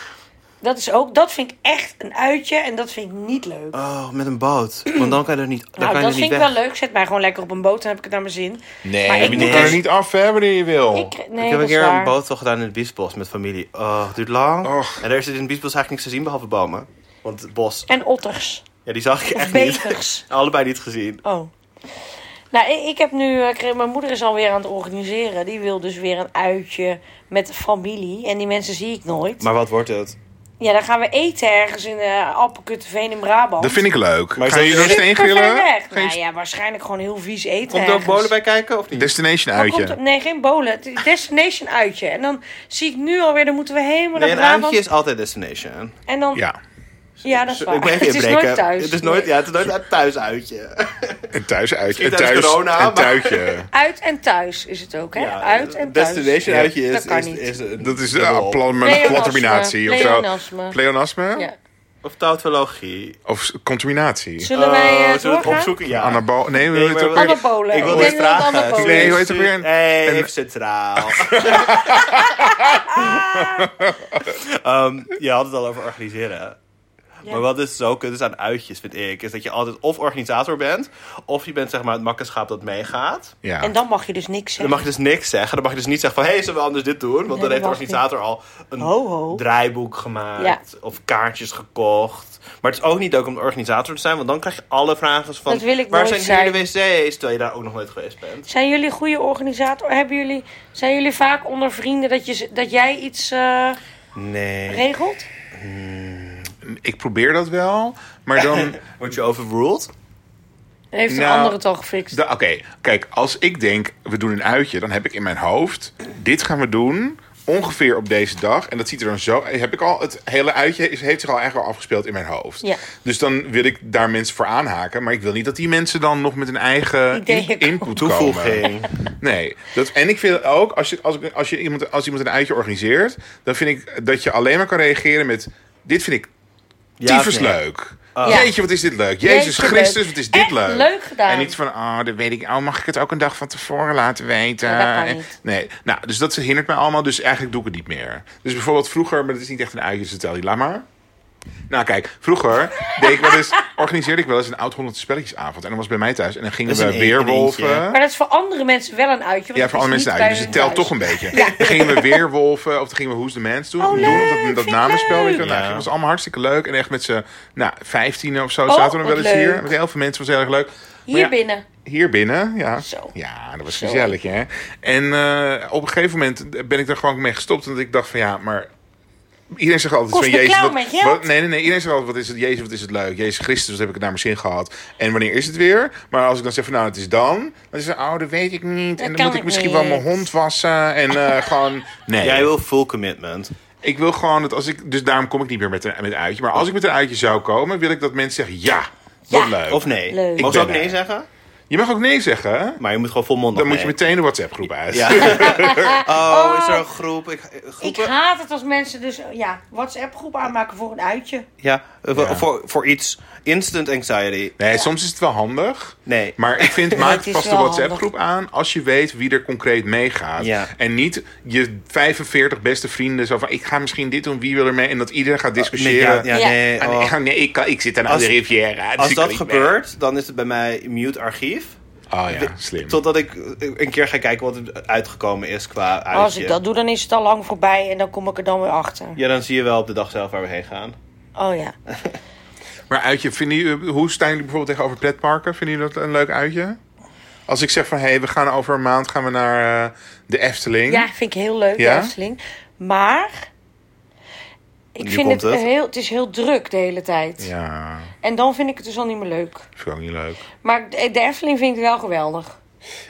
dat is ook, dat vind ik echt een uitje en dat vind ik niet leuk.
Oh, met een boot. Want dan kan je er niet, dan
nou,
kan je
dat
er niet
vind
weg.
ik wel leuk. Zet mij gewoon lekker op een boot, dan heb ik het naar mijn zin.
Nee,
Maar ik
je
moet
kan er
dus-
niet af, hè, wanneer je wil.
Ik,
ik heb
nee,
een
dat is
keer een
waar.
boottocht gedaan in het biesbos met familie. Oh, het duurt lang.
Och.
En er is in het biesbos eigenlijk niks te zien behalve bomen. Want het bos,
En otters.
ja, die zag ik
Of
echt niet.
beters.
Allebei niet gezien.
Oh. Nou, ik, ik heb nu. eh, kreeg- Mijn moeder is alweer aan het organiseren. Die wil dus weer een uitje met familie. En die mensen zie ik nooit.
Maar wat wordt het?
Ja, dan gaan we eten ergens in eh Alpenkutteveen in Brabant.
Dat vind ik leuk.
Maar
Gaan
is
jullie
dat-
een steen
Super ver
grillen?
weg.
Geen
Nou ja, waarschijnlijk gewoon heel vies eten.
Komt er ook
ergens.
bolen bij kijken of niet?
destination
Dan komt er-
uitje.
nee, geen bolen. Het is Destination uitje. En dan zie ik nu alweer, dan moeten we helemaal
nee,
naar
een
Brabant.
uitje is altijd destination.
En dan, ja.
Ja,
dat is
Ik
waar.
moet even
Oh. [LAUGHS] Het is
inbreken.
nooit thuis.
Het is nooit, ja, het is nooit een thuisuitje.
een thuis uitje. Een
tijdens
thuis,
corona,
een
maar- [LAUGHS]
tuitje.
Uit en thuis is het ook, hè?
Ja,
Uit en thuis.
Destination
Ja.
uitje is...
Dat kan
is-
niet.
is een
Dat is
dubbel.
een plan, een
Pleonasme.
contaminatie of zo.
Pleonasme.
Pleonasme?
Ja.
Of tautologie.
Of contaminatie?
Zullen wij eh,
Oh, zullen we het
doorgaan?
opzoeken? Ja.
Anabol. Nee, we
Nee,
weten ook
maar-
weer-
Anabolen.
Ik wil
Ik
dit
denk dat het
vragen.
anabolen
Nee, hoe
is.
heet het weer? Een-
Hey,
een-
even centraal. [LAUGHS] Ehm, je had het al over organiseren.
Ja.
Maar wat is zo kut is aan uitjes, vind ik, is dat je altijd of organisator bent, of je bent zeg maar het makkenschaap dat meegaat.
Ja.
En dan mag je dus niks
Dan
zeggen.
mag je dus niks zeggen. Dan mag je dus niet zeggen van, hé, hey, zullen we anders dit doen? Want dan
Nee, dat
heeft de
mag
organisator al een
Ho, ho.
draaiboek gemaakt.
Ja.
Of kaartjes gekocht. Maar het is ook niet leuk om de organisator te zijn, want dan krijg je alle vragen van...
Dat wil ik
waar
nooit
zijn hier de wc's? Terwijl je daar ook nog nooit geweest bent.
Zijn jullie goede organisator? Hebben jullie, zijn jullie vaak onder vrienden dat, je, z- dat jij iets eh,
Nee.
regelt?
Ik probeer dat wel,
[LAUGHS]
maar dan...
Word je overruled?
Heeft een
Nou,
ander het al gefixt?
Da- Oké, kijk, als ik denk, we doen een uitje, dan heb ik in mijn hoofd, dit gaan we doen, ongeveer op deze dag. En dat ziet er dan zo, heb ik al, het hele uitje is, heeft zich al eigenlijk al afgespeeld in mijn hoofd.
Ja.
Dus dan wil ik daar mensen voor aanhaken, maar ik wil niet dat die mensen dan nog met een eigen
Ideeën
in-
komen.
input komen.
Toevoeging.
Nee, dat, en ik vind ook, als, je, als, ik- als, je iemand, als iemand een uitje organiseert, dan vind ik dat je alleen maar kan reageren met, dit vind ik Oh.
Ja,
tyfus
of nee?
leuk.
Ja.
Jeetje, wat is dit leuk. Jezus
Jeetje,
Christus,
leuk.
wat is dit
Echt
leuk.
leuk gedaan.
En niet van, oh, dat weet ik. Oh, mag ik het ook een dag van tevoren laten weten?
Ja, dat kan
En-
niet.
Nee, nou, dus dat hindert mij allemaal. Dus eigenlijk doe ik het niet meer. Dus bijvoorbeeld vroeger, maar dat is niet echt een uitje, dus dat tel je, laat maar. Nou, kijk, vroeger deed ik wel eens,
[LAUGHS]
organiseerde ik wel eens een oud honderd spelletjesavond. En dan was bij mij thuis. En dan gingen
Dat is
we
een eentje,
weerwolven.
eentje.
Maar dat is voor andere mensen wel een uitje. want
Ja,
het
voor
is
alle mensen
niet bij
uit. Dus het
hun
telt
thuis.
toch een beetje. Dan gingen we weerwolven of dan gingen we Who's the Mans doen.
Oh,
doen
leuk,
of dat,
vind
dat
ik
namenspel. Weet je, wel.
leuk.
nou,
Ja.
dat was allemaal hartstikke leuk. En echt met z'n nou, vijftien of zo
Oh,
zaten we nog
wat
wel eens hier.
leuk.
Met heel veel mensen was het heel erg leuk. Maar
Hier
ja,
binnen.
Hier binnen, ja.
Zo.
Ja, dat was
Zo.
gezellig, hè. En eh, op een gegeven moment ben ik er gewoon mee gestopt. Want ik dacht van, ja, maar... Iedereen zegt altijd
Kost
van
me
Jezus.
klauw
Wat,
met geld.
wat- nee, nee, nee. Iedereen zegt altijd: wat is het? Jezus, wat is het leuk? Jezus Christus, wat heb ik het naar mijn zin gehad? En wanneer is het weer? Maar als ik dan zeg: van nou, het is dan. Dan is het, oh, dat weet ik niet. en
kan
dan moet
ik
ik misschien
niet.
wel mijn hond wassen. En
[LAUGHS]
eh, gewoon. Nee.
Jij wil full commitment.
Ik wil gewoon dat als ik. Dus daarom kom ik niet meer met een, met een uitje. Maar als ik met een uitje zou komen, wil ik dat mensen zeggen: ja, wat
Ja.
leuk.
Of nee?
Leuk. Ik
Mag ze
ben
ook nee
er.
zeggen?
Je mag ook nee zeggen. hè?
Maar je moet gewoon volmondig
Dan moet je
nee.
meteen de WhatsApp-groep uit.
Ja. oh, is er een groep? Ik,
Ik
groepen?
haat het als mensen dus ja, WhatsApp-groep aanmaken voor een uitje.
Ja, eh, voor-
Ja.
Voor, voor iets. Instant anxiety.
Nee, soms is het wel handig.
Nee.
Maar ik
[LAUGHS]
vind,
het
maak
is
vast de
wel
WhatsApp-groep aan als je weet wie er concreet meegaat.
Ja.
En niet je 45 beste vrienden zo van, ik ga misschien dit doen, wie wil er mee? En dat iedereen gaat
Nee, ja,
discussiëren.
Oh, ja,
Ja.
nee.
Ah,
oh.
nee, nee, ik, kan- ik zit aan
Als-
de Riviera. dus
Als
ik kan
dat
niet
gebeurt, dan is het bij mij mute archief.
mee. Oh ja, slim.
Totdat ik eh, een keer ga kijken wat er uitgekomen is qua uitje.
Als ik dat doe, dan is het al lang voorbij en dan kom ik er dan weer achter.
Ja, dan zie je wel op de dag zelf waar we heen gaan.
Oh ja.
Maar uitje, vinden jullie, hoe staan jullie bijvoorbeeld tegenover pretparken? Vinden jullie dat een leuk uitje? Als ik zeg van, hé, hey, we gaan over een maand gaan we naar eh, de Efteling.
Ja, vind ik heel leuk,
Ja?
de Efteling. Maar ik
Nu
vind
komt
het,
het.
Heel, het is heel druk de hele tijd.
Ja,
En dan vind ik het dus al niet meer leuk.
vind ik ook niet leuk.
Maar de de Efteling vind ik wel geweldig.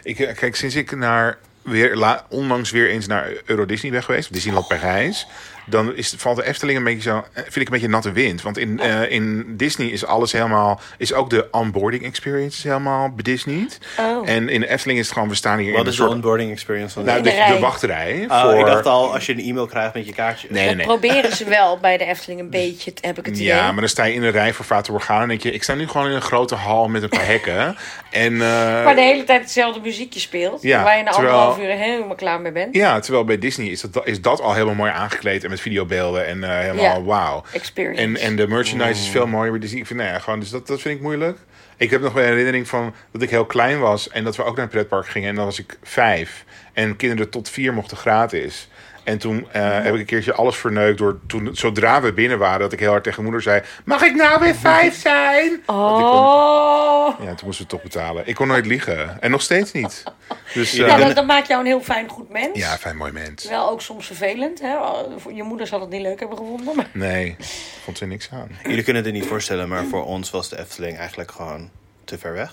Ik, eh, kijk, sinds ik naar weer, la- onlangs weer eens naar Euro Disney ben geweest, Disneyland
Oh.
Parijs, dan is, valt de Efteling een beetje zo, eh, vind ik een beetje natte wind. Want in,
Oh.
eh, in Disney is alles helemaal, is ook de onboarding experience is helemaal bedisneyed.
Oh.
En in de Efteling is het gewoon, we staan hier
Wat
in een
is de
soort,
onboarding experience van
nou,
dit?
de,
In de rij.
de wachtrij.
Oh,
voor,
Ik dacht al, als je een e-mail krijgt met je kaartje.
Nee, nee,
Dat
nee.
proberen
[LAUGHS]
ze wel bij de Efteling een beetje, t- heb ik het idee.
Ja, maar dan sta je in een rij voor Fata Morgana en denk je, ik sta nu gewoon in een grote hal met een paar hekken. En, eh,
Waar de hele tijd hetzelfde muziekje speelt.
Ja,
waar je na
terwijl-
anderhalf uur helemaal klaar mee bent.
Ja, terwijl bij Disney is dat, is dat al helemaal mooi aangekleed en met videobeelden en eh, helemaal
Ja.
wauw.
Experience.
En, en de merchandise is veel mooier bij Disney. Ik vind, nou ja, gewoon, dus dat, dat vind ik moeilijk. Ik heb nog wel een herinnering van dat ik heel klein was en dat we ook naar het pretpark gingen. En dan was ik vijf. En kinderen tot vier mochten gratis. En toen eh,
Mm.
heb ik een keertje alles verneukt door toen, zodra we
[LAUGHS]
binnen waren, dat ik heel hard tegen moeder zei: Mag ik nou weer vijf zijn? Want ik kon-
Oh,
ja, want dan moesten we toch betalen. Ik kon nooit liegen. En nog steeds niet. Dus eh,
Ja,
ja,
dat, dat maakt jou een heel fijn, goed mens.
fijn, mooi mens.
Wel ook soms vervelend. Hè? Je moeder zal het niet leuk hebben gevonden. Maar...
Nee, vond ze niks aan.
Jullie kunnen het niet voorstellen, maar voor ons was de Efteling eigenlijk gewoon te ver weg.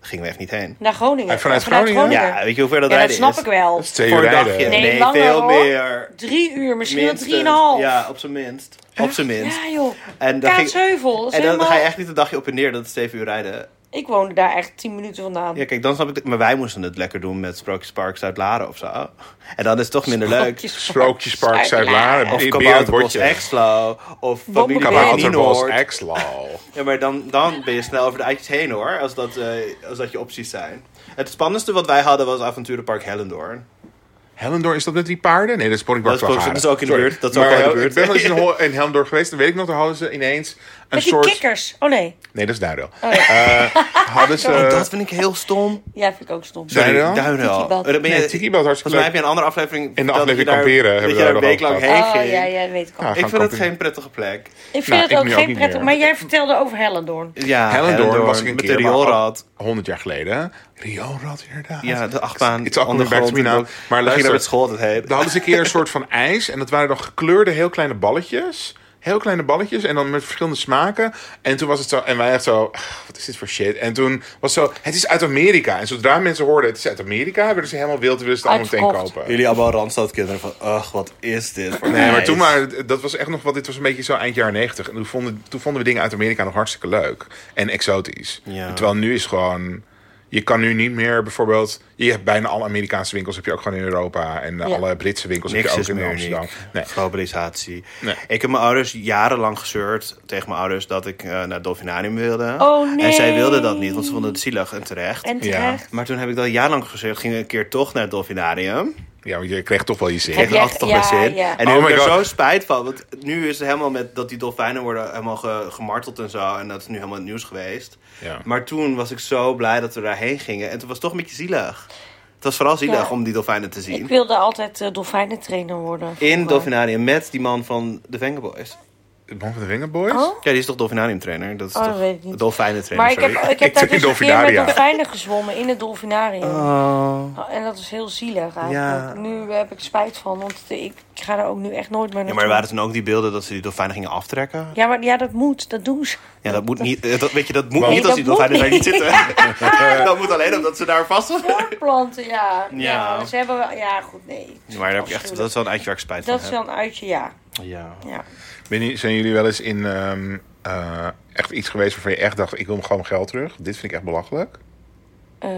Daar gingen we echt niet heen.
Naar Groningen.
En Eh, vanuit
Of vanuit
Groningen?
Ja, weet je hoe ver dat
Ja, dat
rijden
snap
is?
ik wel.
Dat is twee
Voor
uur
een
rijden.
dagje.
Nee,
Nee,
langer,
veel
hoor.
meer.
Drie uur, misschien wel
Minstens.
drieënhalf.
Ja, op zijn minst. Op zijn minst.
Ja, joh.
En dan ging-
Kaatsheuvel. dat is
En dan
helemaal-
ga je echt niet een dagje op en neer, dat is zeven uur rijden.
Ik woonde daar echt tien minuten vandaan.
Ja, kijk, dan snap ik het. Maar wij moesten het lekker doen met Sprookjespark Zuid-Laren of zo. En dat is toch minder leuk.
Sprookjes-
Sprookjespark Zuid-Laren.
Of
Beer-
Kabouterbos
Beerenbordje.
Exlo. Of familie
Kabouterbos
Kabouterbos
Nienoord.
Exlal.
Ja, maar dan, dan ben je snel over de eitjes heen hoor, als dat, eh, als dat je opties zijn. Het spannendste wat wij hadden was avonturenpark Hellendoorn.
Hellendoor, is dat met die paarden? Nee, dat is Ponypark
Dat is Ponypark, dat is ook in de
Sorry.
buurt, dat is ook
Maar
wel in de
Hel-
buurt.
Ik ben wel
[LAUGHS]
eens in, Hol- in Hellendoor geweest. Dan weet ik nog, daar hadden ze ineens een
Met die
soort...
kikkers. Oh nee.
Nee, dat is Duidel. Eh, hadden ze...
En Oh, dat vind ik heel stom.
Ja, vind ik ook stom.
Zo- Duinrel?
Duinrel.
Tikibad.
Oh, dan ben je-
Nee, Tikibad is hartstikke
Volgens mij
leuk.
heb je een andere aflevering... dat
In de
je
aflevering
daar-
kamperen hebben
Dat
we
je daar
daar
een
nog
week lang
over
heen
Oh
ging.
ja, ja, dat weet ik al.
Ja, gaan
Ik vind het
kamperen.
geen prettige plek.
Ik vind
Ah. Nou,
het
ik
ook
nu
geen
ook niet
prettig.
meer.
Maar jij vertelde over Hellendoorn.
Ja,
Hellendoorn was ik een
met
keer.
de
maar oh. al-
rioolrad.
100 jaar geleden. hè? Rioolrad, inderdaad.
Ja, de achtbaan.
It's all coming back to me now. Maar
Maar luister.
luister,
met school dat heet.
daar hadden ze een keer een soort van ijs. En dat waren dan gekleurde heel kleine balletjes. Heel kleine balletjes. En dan met verschillende smaken. En toen was het zo. En wij echt zo. "Ah, Wat is dit voor shit? En toen was het zo. Het is uit Amerika. En zodra mensen hoorden. Het is uit Amerika. Werden ze helemaal wild. en Wilden ze het allemaal meteen
Uitverkocht.
kopen.
Jullie allemaal Randstadkinderen van... Ach, wat is dit voor
Nee, maar
meid?
toen maar, dat was echt nog wat. Dit was een beetje zo eind jaren 90. En toen vonden, toen vonden we dingen uit Amerika nog hartstikke leuk en exotisch.
Ja.
En Terwijl nu is gewoon, je kan nu niet meer bijvoorbeeld, je hebt bijna alle Amerikaanse winkels heb je ook gewoon in Europa en
Ja.
alle Britse winkels
Niks
heb
is
je ook in
meer
Amsterdam.
uniek.
Nee.
Globalisatie.
Nee.
Ik heb mijn ouders jarenlang gezeurd tegen mijn ouders dat ik eh, naar het Dolfinarium wilde.
Oh, nee.
En zij wilden dat niet, want ze vonden het zielig en terecht.
En
Ja.
terecht.
Maar toen heb ik dat jarenlang gezeurd. Ging een keer toch naar het Dolfinarium.
Ja, want je kreeg toch wel je zin.
Ik
Heb
had
jij-
altijd toch
ja,
mijn zin.
ja.
En nu
Oh
heb ik
my
er
God.
zo spijt van. Want nu is het helemaal met dat die dolfijnen worden helemaal ge- gemarteld en zo. En dat is nu helemaal het nieuws geweest.
Ja.
Maar toen was ik zo blij dat we daarheen gingen. En toen was het toch een beetje zielig. Het was vooral zielig
Ja.
om die dolfijnen te
Ik
zien.
wilde altijd eh, dolfijnentrainer worden.
In
vroeger.
Dolfinarium met die man van de Vengaboys.
De man van de Ringenboys?
Oh?
Ja, die is toch Dolfinarium trainer? Dat is
Oh, dat
toch
weet ik niet.
Dolfijnen trainer,
Maar ik heb,
sorry. [LAUGHS]
ik heb daar
Ik
dus
vind
een keer met
dolfinaria.
dolfijnen gezwommen in het dolfinarium.
Oh.
En dat is heel zielig eigenlijk.
Ja.
Nu heb ik spijt van, want ik ga er ook nu echt nooit meer
Ja,
naartoe.
maar er waren toen ook die beelden dat ze die dolfijnen gingen aftrekken?
ja, maar ja, dat moet. Dat doen ze.
Ja, dat moet niet, eh, dat, weet je, dat moet
Nee,
niet als
dat
die dolfijnen
moet
daar niet
niet.
zitten.
[LAUGHS]
dat moet alleen omdat ze daar vast
Voortplanten, ja. ja.
Ja.
ze hebben wel... Ja, goed, nee.
Maar daar heb ik echt, dat is wel een uitje waar ik spijt
Dat is
van
wel een uitje, ja.
heb. Ja.
ja.
Ben je- zijn jullie wel eens in ehm, eh, echt iets geweest waarvan je echt dacht, ik wil gewoon geld terug. Dit vind ik echt belachelijk.
Eh,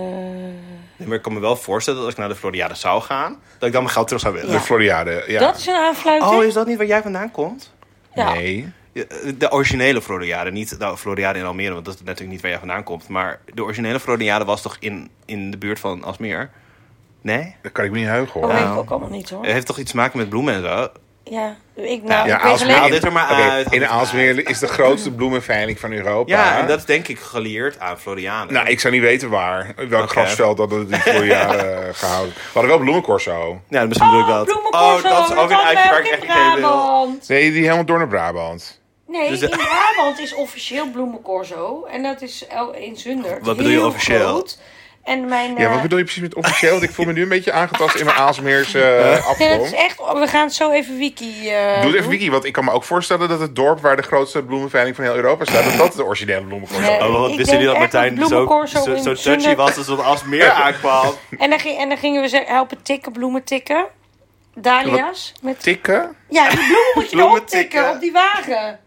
Nee, maar ik kan me wel voorstellen dat als ik naar de Floriade zou gaan, dat ik dan mijn geld terug zou willen.
De Floriade, ja.
Dat is een aanfluiting.
Oh, is dat niet waar jij vandaan komt?
ja.
Nee.
Je- De originele Floriade, niet de Floriade in Almere, want dat is natuurlijk niet waar jij vandaan komt. Maar de originele Floriade was toch in, in de buurt van Asmeer? Nee?
Dat kan ik me niet heugen hoor.
Dat weet
Ja. Eh.
ik ook allemaal niet, hoor.
Het heeft toch iets te maken met bloemen en zo?
Ja, ik nou,
Ja,
ik weet
Aalsmeer,
Haal
alleen...
dit er maar
Oké,
uit, haal dit
in
er maar
Aalsmeer is de grootste bloemenveiling van Europa.
Ja, en dat is denk ik geleerd aan Floriade.
Nou, ik zou niet weten waar. Welk grasveld dat het voor jaren gehouden. We hadden wel bloemencorso.
Ja, misschien bedoel ik Oh, dat.
Oh, Bloemenkorso,
dat is ook een uitje waar ik echt niet heen wil.
Nee, die helemaal door naar Brabant.
Nee,
Dus, eh,
in Brabant is officieel bloemencorso. En dat is el- in Zundert.
Wat bedoel je
heel
officieel?
groot. En mijn...
Ja,
eh,
wat bedoel je precies met officieel? Want ik voel me nu een beetje aangetast in mijn Aalsmeerse
[LAUGHS]
eh,
Nee, dat is
afgrond.
echt... oh, We gaan het zo even wiki... eh,
Doe het even
doen.
wiki, want ik kan me ook voorstellen dat het dorp waar de grootste bloemenveiling van heel Europa staat, dat dat de originele bloemencorso
Nee.
is.
Oh, wat
Ik
wisten jullie dat
denk echt dat
Martijn zo,
bloemencorso
zo,
in
zo touchy
Zundert-
was als het Asmeer aankwam?
[LAUGHS] En dan, ging- en dan gingen we ze helpen tikken, bloemen tikken. Dahlia's. Met...
Tikken?
Ja, die bloemen moet
[LAUGHS]
je
Bloemen
erop tikken
tikken.
op die wagen.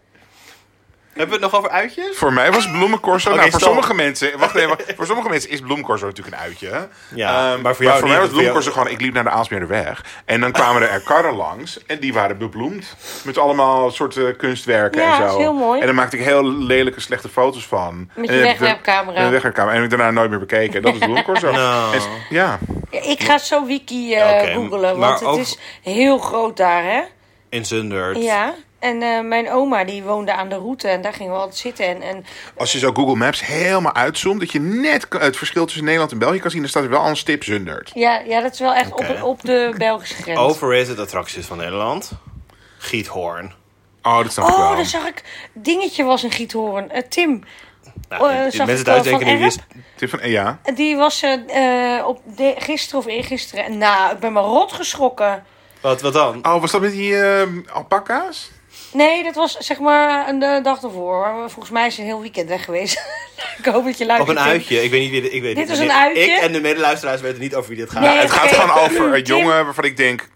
Hebben we het nog over uitjes?
Voor mij was bloemencorso.
Oké,
nou, voor
stop.
sommige mensen. Wacht even. Voor sommige mensen is bloemencorso natuurlijk een uitje. hè?
Ja,
Ehm,
maar voor jou niet, want
voor mij was
voor jou-
bloemencorso gewoon. Ik liep naar de Aalsmeerderweg. En dan kwamen er, er karren langs. En die waren bebloemd. Met allemaal soorten kunstwerken
Ja,
en
dat
zo.
is heel mooi.
En daar maakte ik heel lelijke, slechte foto's van.
Met
En
je
dan heb ik de-
wegwerpcamera.
Met een wegwerpcamera. En heb ik daarna nooit meer bekeken.
[LAUGHS]
En Dat is bloemencorso.
Nou.
En- ja.
Ja, ik ga zo wiki eh
Oké,
googlen,
maar
want het
over-
is heel groot daar, hè?
In Zundert.
Ja. En eh, mijn oma die woonde aan de route en daar gingen we altijd zitten. En, en
Als je zo Google Maps helemaal uitzoomt. Dat je net kan- het verschil tussen Nederland en België kan zien. Dan staat er wel al een stip Zundert.
ja, ja, dat is wel echt
Oké.
op, op de Belgische grens.
Overrated attracties van Nederland. Giethoorn.
Oh, dat snap ik wel.
Oh, daar zag ik. Dingetje was een giethoorn. Eh, Tim,
Nou,
eh,
die- die
zag
mensen
ik wel
thuis denken
van
nu, wie is...
Tip van, eh, ja.
Die was eh, eh, op de, gisteren of eergisteren. En Nou, ik ben me rot geschrokken.
Wat, wat dan?
Oh, was dat met die eh alpaca's?
Nee, dat was zeg maar een eh, dag ervoor. Volgens mij is ze een heel weekend weg geweest. [LAUGHS] ik hoop dat je
Op
luistert.
een uitje. Ik weet niet wie... de- Ik weet
Dit
niet.
is een uitje?
Ik en de medeluisteraars weten niet over wie dit gaat.
Nee.
Het gaat
Oké.
gewoon over een
Tim.
jongen waarvan ik denk,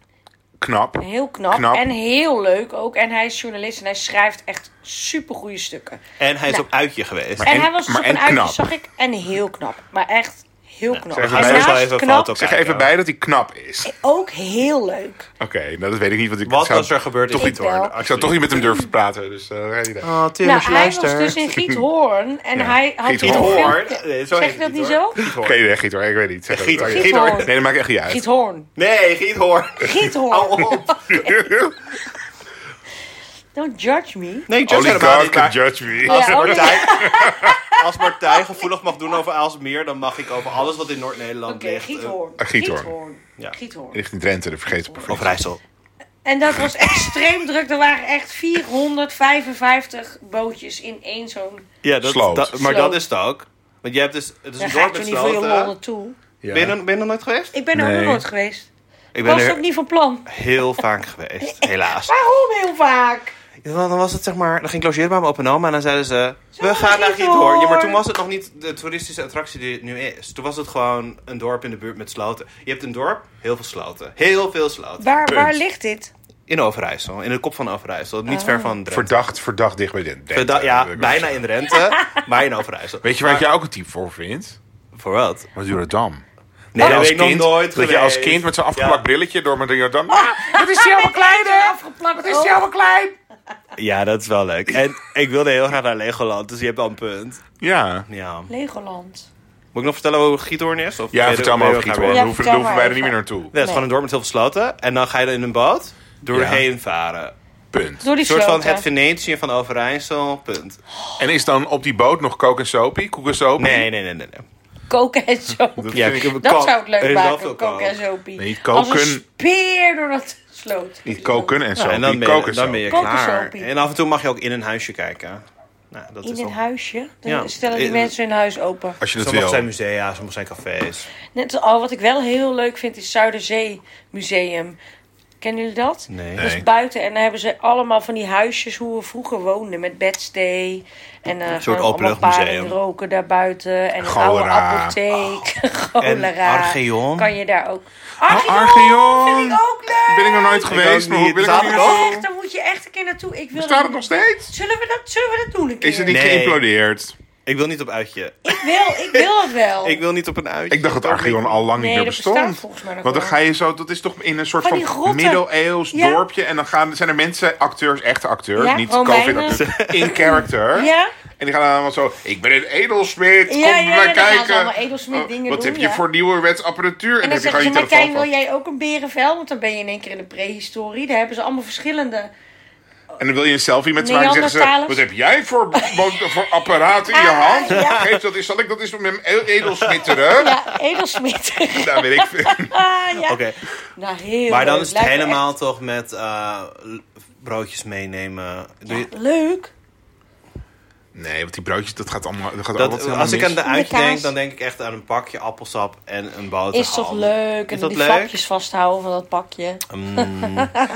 knap.
Heel knap,
Knap.
en heel leuk ook. En hij is journalist en hij schrijft echt supergoeie stukken.
En hij is
Nou.
op uitje geweest.
Maar-
en,
en-
hij was dus
maar
op
en
een uitje,
knap.
zag ik. En heel knap. Maar echt heel knap.
zeg even
en
bij-
Zal
naast
even een
knap
foto-
Zeg
Kijk,
even
ja.
bij dat hij knap is.
ook heel leuk.
Oké, nou dat weet ik niet, want ik
Wat
zou
was er gebeurd?
toch
in-
niet hoor. Ik zou toch niet met hem durven praten, dus eh geen idee.
Oh, Tim,
nou,
als je
hij
luistert.
was dus in Giethoorn. En
Ja.
hij had
Giethoorn.
een
Giethoorn.
filmpje-
Nee, zo
Zeg
heet
je
het
dat niet
hoor.
zo?
Ik weet het echt niet hoor, ik weet het niet. Zeg het.
Giethoorn.
Oké.
Giethoorn.
Nee, dat maakt echt niet uit. [LAUGHS]
Giethoorn.
Nee, Giethoorn.
Giethoorn.
Hou op.
[LAUGHS] Don't judge me.
Nee, ik judge
Only
helemaal
God
niet,
can
maar
judge me.
Als,
Ja, oh, oké.
Martijn, als Martijn gevoelig mag doen over Aalsmeer, dan mag ik over alles wat in Noord-Nederland
Oké,
ligt. eh,
Giethoorn.
eh, Giethoorn.
Ja.
Giethoorn.
Richting Drenthe, de vergeten provincie.
Of Rijssel.
En dat
[LAUGHS]
was extreem druk. Er waren echt 455 bootjes in één zo'n...
Ja, dat,
Sloot.
dat- maar
Sloot.
dat is het ook. Want je hebt dus, het is
Daar
een
ga ik
dorp
toch
met
niet voor je
sloten.
lol naartoe.
Ben je er- ben je er nooit geweest?
Ik ben er ook
Nee.
nog nooit geweest.
Ik ben
Was ook
er
niet van plan.
heel vaak
[LAUGHS]
geweest, helaas.
Waarom heel vaak?
Ja, want dan was het zeg maar, dan ging ik logeren bij mijn opa en oma en dan zeiden ze, we
naar
gaan naar
Giethoorn.
Giethoorn. Ja, maar toen was het nog niet de toeristische attractie die het nu is. Toen was het gewoon een dorp in de buurt met sloten. Je hebt een dorp, heel veel sloten. Heel veel sloten.
Waar,
Punt.
waar ligt dit?
In Overijssel, in de kop van Overijssel. Niet
Ah.
ver van Drenthe.
Verdacht, verdacht dicht bij Drenthe.
Verda-
wil
ja,
ik
bijna
wel
in
[LAUGHS]
Drenthe, maar in Overijssel.
Weet je waar ik jou ook een type voor vind?
Voor wat?
Madurodam.
Nee, dat
als
weet ik nog
kind-
nooit
Dat je als
geweest.
kind met zo'n afgeplakt
Ja.
brilletje door Madurodam... Ah, oh. dat is
Met
helemaal
een
klein,
eentje
hè?
afgeplakt
Dat is
Oh.
ook.
helemaal klein.
Ja, dat is wel
[LAUGHS]
leuk. En ik wilde heel graag naar Legoland, dus je hebt al een punt.
Ja.
Ja.
Legoland.
Moet ik nog vertellen hoe Giethoorn is? Of
Ja,
ben je-
vertel maar
ben je
over
ook
Giethoorn.
naar-
Ja,
Dan hoeven
vertel
dan hoeven
maar
wij er
even.
niet meer naartoe.
Ja, het is
Nee.
gewoon een dorp met heel veel sloten. En dan ga je er in een boot doorheen varen.
Punt.
Door die
Een soort van
sloten.
het Venetië van Overijssel, punt.
En is dan op die boot nog kook en sopie? Koek en sopie?
Nee, nee, nee, nee. nee.
Koken en zo.
Ja,
vind ik-
ik-
Dat
kook.
zou het
Er
leuk
is wel
maken,
veel
koken en
kook.
zopie.
Nee,
Als een
koken-
speer door dat sloot.
Niet koken en
Ja,
sopie,
en dan ben,
kook
je,
en
dan ben je
sopie.
Koken
klaar.
sopie.
En af en toe mag je ook in een huisje kijken. Nou, dat
In
is
een
al-
huisje. Dan
Ja.
stellen die
In-
mensen hun huis open.
Als je dat
Sommige
wil.
zijn musea, sommige zijn cafés.
Net, oh, wat ik wel heel leuk vind is Zuiderzee Museum. Kennen jullie dat?
Nee.
Dat is
Nee.
buiten en daar hebben ze allemaal van die huisjes hoe we vroeger woonden. Met bedstee en eh
soort
gewoon allemaal
openluchtmuseum.
paling roken daarbuiten. En een oude
Cholera.
apotheek. [LAUGHS] Cholera.
Archeon.
Kan je daar ook...
Archeon!
Archeon! Vind ik ook leuk!
Ah, Ben ik nog nooit geweest,
ook
maar
niet.
hoe wil ik
Staat
ook
het nog?
niet
Echt, daar moet je echt een keer naartoe. Ik wil
Staat het nog steeds?
Zullen we dat, zullen we dat doen een keer?
Is het niet
Nee.
geïmplodeerd?
Ik wil niet op uitje.
Ik wil, ik wil het wel.
Ik wil niet op een uitje.
Ik dacht dat Archeon al lang niet
Nee,
meer
dat bestaat
bestond.
volgens mij nog
Want dan
wel.
ga je zo, dat is toch in een soort
Van die
van
grotten.
middeleeuws
Ja.
dorpje. En dan gaan, zijn er mensen, acteurs, echte acteurs,
Ja,
niet
Romeinen.
COVID-acteurs, [LAUGHS] in character.
Ja.
En die gaan dan allemaal zo, ik ben een edelsmid, kom
Ja, ja,
maar
dan gaan ze
kijken.
allemaal edelsmid
Oh,
dingen
Wat
doen,
heb
ja.
je voor nieuwe wetsapparatuur?
En dan
heb je
zeggen ze,
gewoon je
Martijn,
telefoon
wil
vast.
jij ook een berenvel? Want dan ben je in één keer in de prehistorie. Daar hebben ze allemaal verschillende...
En dan wil je een selfie met ze maken en zeggen ze...
Neandertalers.
Wat heb
[LAUGHS]
jij voor, bo- voor apparaat in je
Ah,
hand?
ja.
Geef dat eens, zal ik dat eens met mijn
[LAUGHS]
edelsmitteren?
Ja, edelsmid.
Nou, weet ik veel.
[LAUGHS]
[LAUGHS]
ah, ja.
Oké,
Nou, heel
maar dan
leuk.
is het
Lijkt me
helemaal toch met eh, l- broodjes meenemen. Doe je-
echt Leuk.
Nee, want die broodjes, dat gaat allemaal, dat gaat
dat,
altijd helemaal
als ik
mis.
aan de uitje
kaas.
denk, dan denk ik echt aan een pakje appelsap en een boterham.
Is toch leuk? En
Is
dan
dat
die
leuk?
vakjes vasthouden van dat pakje.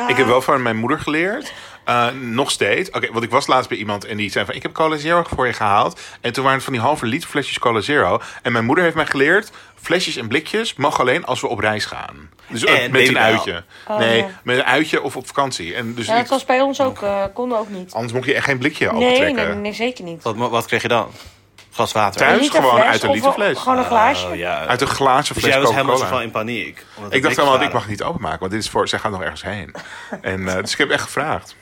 Ik heb wel van mijn moeder geleerd. eh, nog steeds. Oké, want ik was laatst bij iemand en die zei van... ik heb Cola Zero voor je gehaald. En toen waren het van die halve liter flesjes Cola Zero. En mijn moeder heeft mij geleerd... flesjes en blikjes mag alleen als we op reis gaan. Dus eh,
En
met
baby
een
wel.
uitje. nee,
Oh, ja.
met een uitje of op vakantie. En dus
Ja,
ik-
dat was bij ons ook. eh kon ook niet.
anders mocht je echt geen blikje
Nee,
opentrekken.
nee, nee, zeker niet.
Wat, wat kreeg je dan? Glas water.
Thuis?
Een liter
gewoon
fles
uit een
of
liter
wel-
fles.
Gewoon een glaasje.
Oh, ja.
Oh, Uit een glazen
dus
fles
jij was helemaal zo
Coca-Cola.
van in paniek. omdat
Ik
het
dacht helemaal, ik
blikjes
mag niet openmaken. Want dit is voor, zij gaan nog ergens
[LAUGHS]
heen. En, eh, dus ik heb echt gevraagd.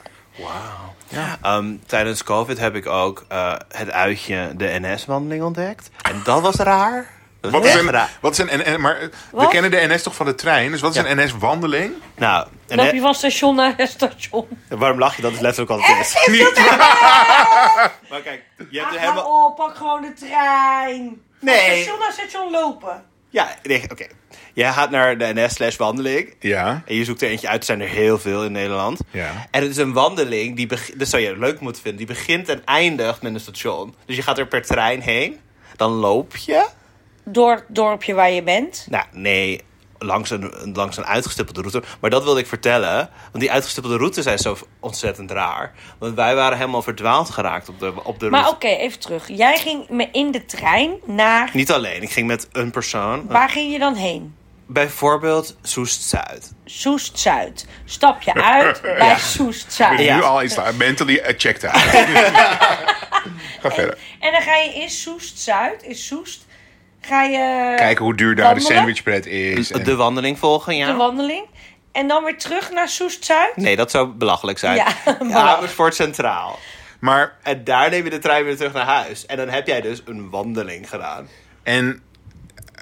waren. Ehm, tijdens COVID heb ik ook eh, het uitje de NS-wandeling ontdekt. En dat was raar. Dat was
Wat is
echt
een,
raar.
wat is een NS? Maar eh, we
Wat?
kennen de NS toch van de trein? Dus wat is
Ja.
een NS-wandeling?
Nou, en
Loop je van station naar [LAUGHS] station.
waarom lach je? Dat is letterlijk wat het is.
Niet
Maar kijk, je hebt
Ah,
er helemaal...
hou op, pak gewoon de trein. Van
Nee.
Station naar station lopen.
Ja, nee, oké. Je Jij gaat naar de NS slash wandeling.
Ja.
En je zoekt er eentje uit. Er zijn er heel veel in Nederland.
Ja.
En het is een wandeling. Die beg- dat zou je leuk moeten vinden. Die begint en eindigt met een station. Dus je gaat er per trein heen. Dan loop je.
Door het dorpje waar je bent.
Nou, nee, langs een, langs een uitgestippelde route. Maar dat wilde ik vertellen. Want die uitgestippelde routes zijn zo ontzettend raar. Want wij waren helemaal verdwaald geraakt op de, op de
Maar oké,
route.
even terug. Jij ging me in de trein naar...
Niet alleen. Ik ging met een persoon.
Waar ging je dan heen?
Bijvoorbeeld Soest-Zuid.
Soest-Zuid. Stap je
[LAUGHS]
uit bij Soest-Zuid.
Ja.
Nu al is dat mentally eh, checked
[LAUGHS]
out. Ga verder.
En dan ga je in Soest-Zuid, in Soest, ga je
Kijken hoe duur daar de
Wandelen?
sandwichbread is. en-
De wandeling volgen, ja.
de wandeling. En dan weer terug naar Soest-Zuid.
Nee, dat zou belachelijk zijn. [LAUGHS]
Ja, [LAUGHS] maar-
Amersfoort Centraal.
Maar,
En daar neem je de trein weer terug naar huis. En dan heb jij dus een wandeling gedaan.
en...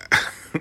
[LAUGHS]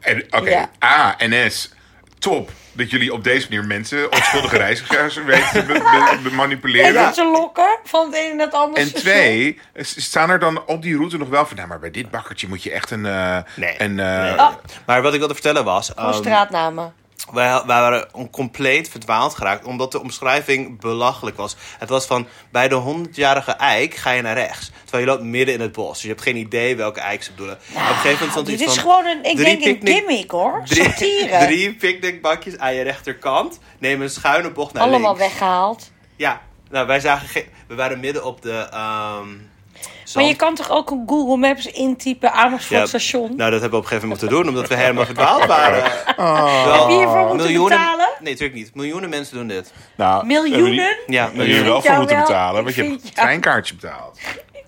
en Oké,
Ja.
A en S. Top dat jullie op deze manier
[LAUGHS]
mensen, onschuldige reizigers, weten te be- be- be-
En
manipuleren.
dat ze lokken van het ene naar het andere.
En
station. [LAUGHS]
twee, s- staan er dan op die route nog wel van... Nou, maar bij dit bakkertje moet je echt een... eh,
Nee.
een eh,
Nee.
Oh.
Maar wat ik wilde vertellen was...
Voor
ehm,
straatnamen.
Wij, wij waren on- compleet verdwaald geraakt, omdat de omschrijving belachelijk was. Het was van, bij de 100-jarige eik ga je naar rechts. Terwijl je loopt midden in het bos. Dus je hebt geen idee welke eik ze bedoelen. Op een gegeven moment stond
Ah, Dit
iets
is
van
gewoon een, ik
drie
denk een
picknick-
gimmick hoor.
Drie,
Satire.
[LAUGHS] drie picknickbakjes aan je rechterkant. Neem een schuine bocht naar
Allemaal
links.
weggehaald.
Ja, nou, wij zagen geen- We waren midden op de... ehm
Maar
zand-
je kan toch ook op Google Maps intypen Amersfoort
Ja,
station?
Nou, dat hebben we op een gegeven moment moeten doen, omdat we helemaal verdwaald
[LAUGHS]
waren.
Oh.
Wel,
Heb je hiervoor moeten
miljoenen-
betalen?
Nee, natuurlijk niet. Miljoenen mensen doen dit.
nou,
Miljoenen?
Ja,
Daar jullie
miljoenen.
wel
Ik
voor
jou
moeten
wel.
betalen, want
Ik
je
vind
hebt een
jou-
treinkaartje betaald.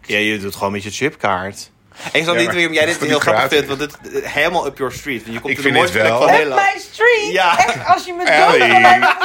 Ja, je doet gewoon met je chipkaart. En ik snap
Ja,
niet
maar
waarom jij dit
dat is
heel
toch niet
grappig vindt, want
gratis?
dit eh, helemaal up your street. Want je komt
Ik
in de
vind
mooiste
dit
plek
wel.
van
Up
Up
Nederland.
my street!
Ja.
Echt, als je me
Ellie,
dood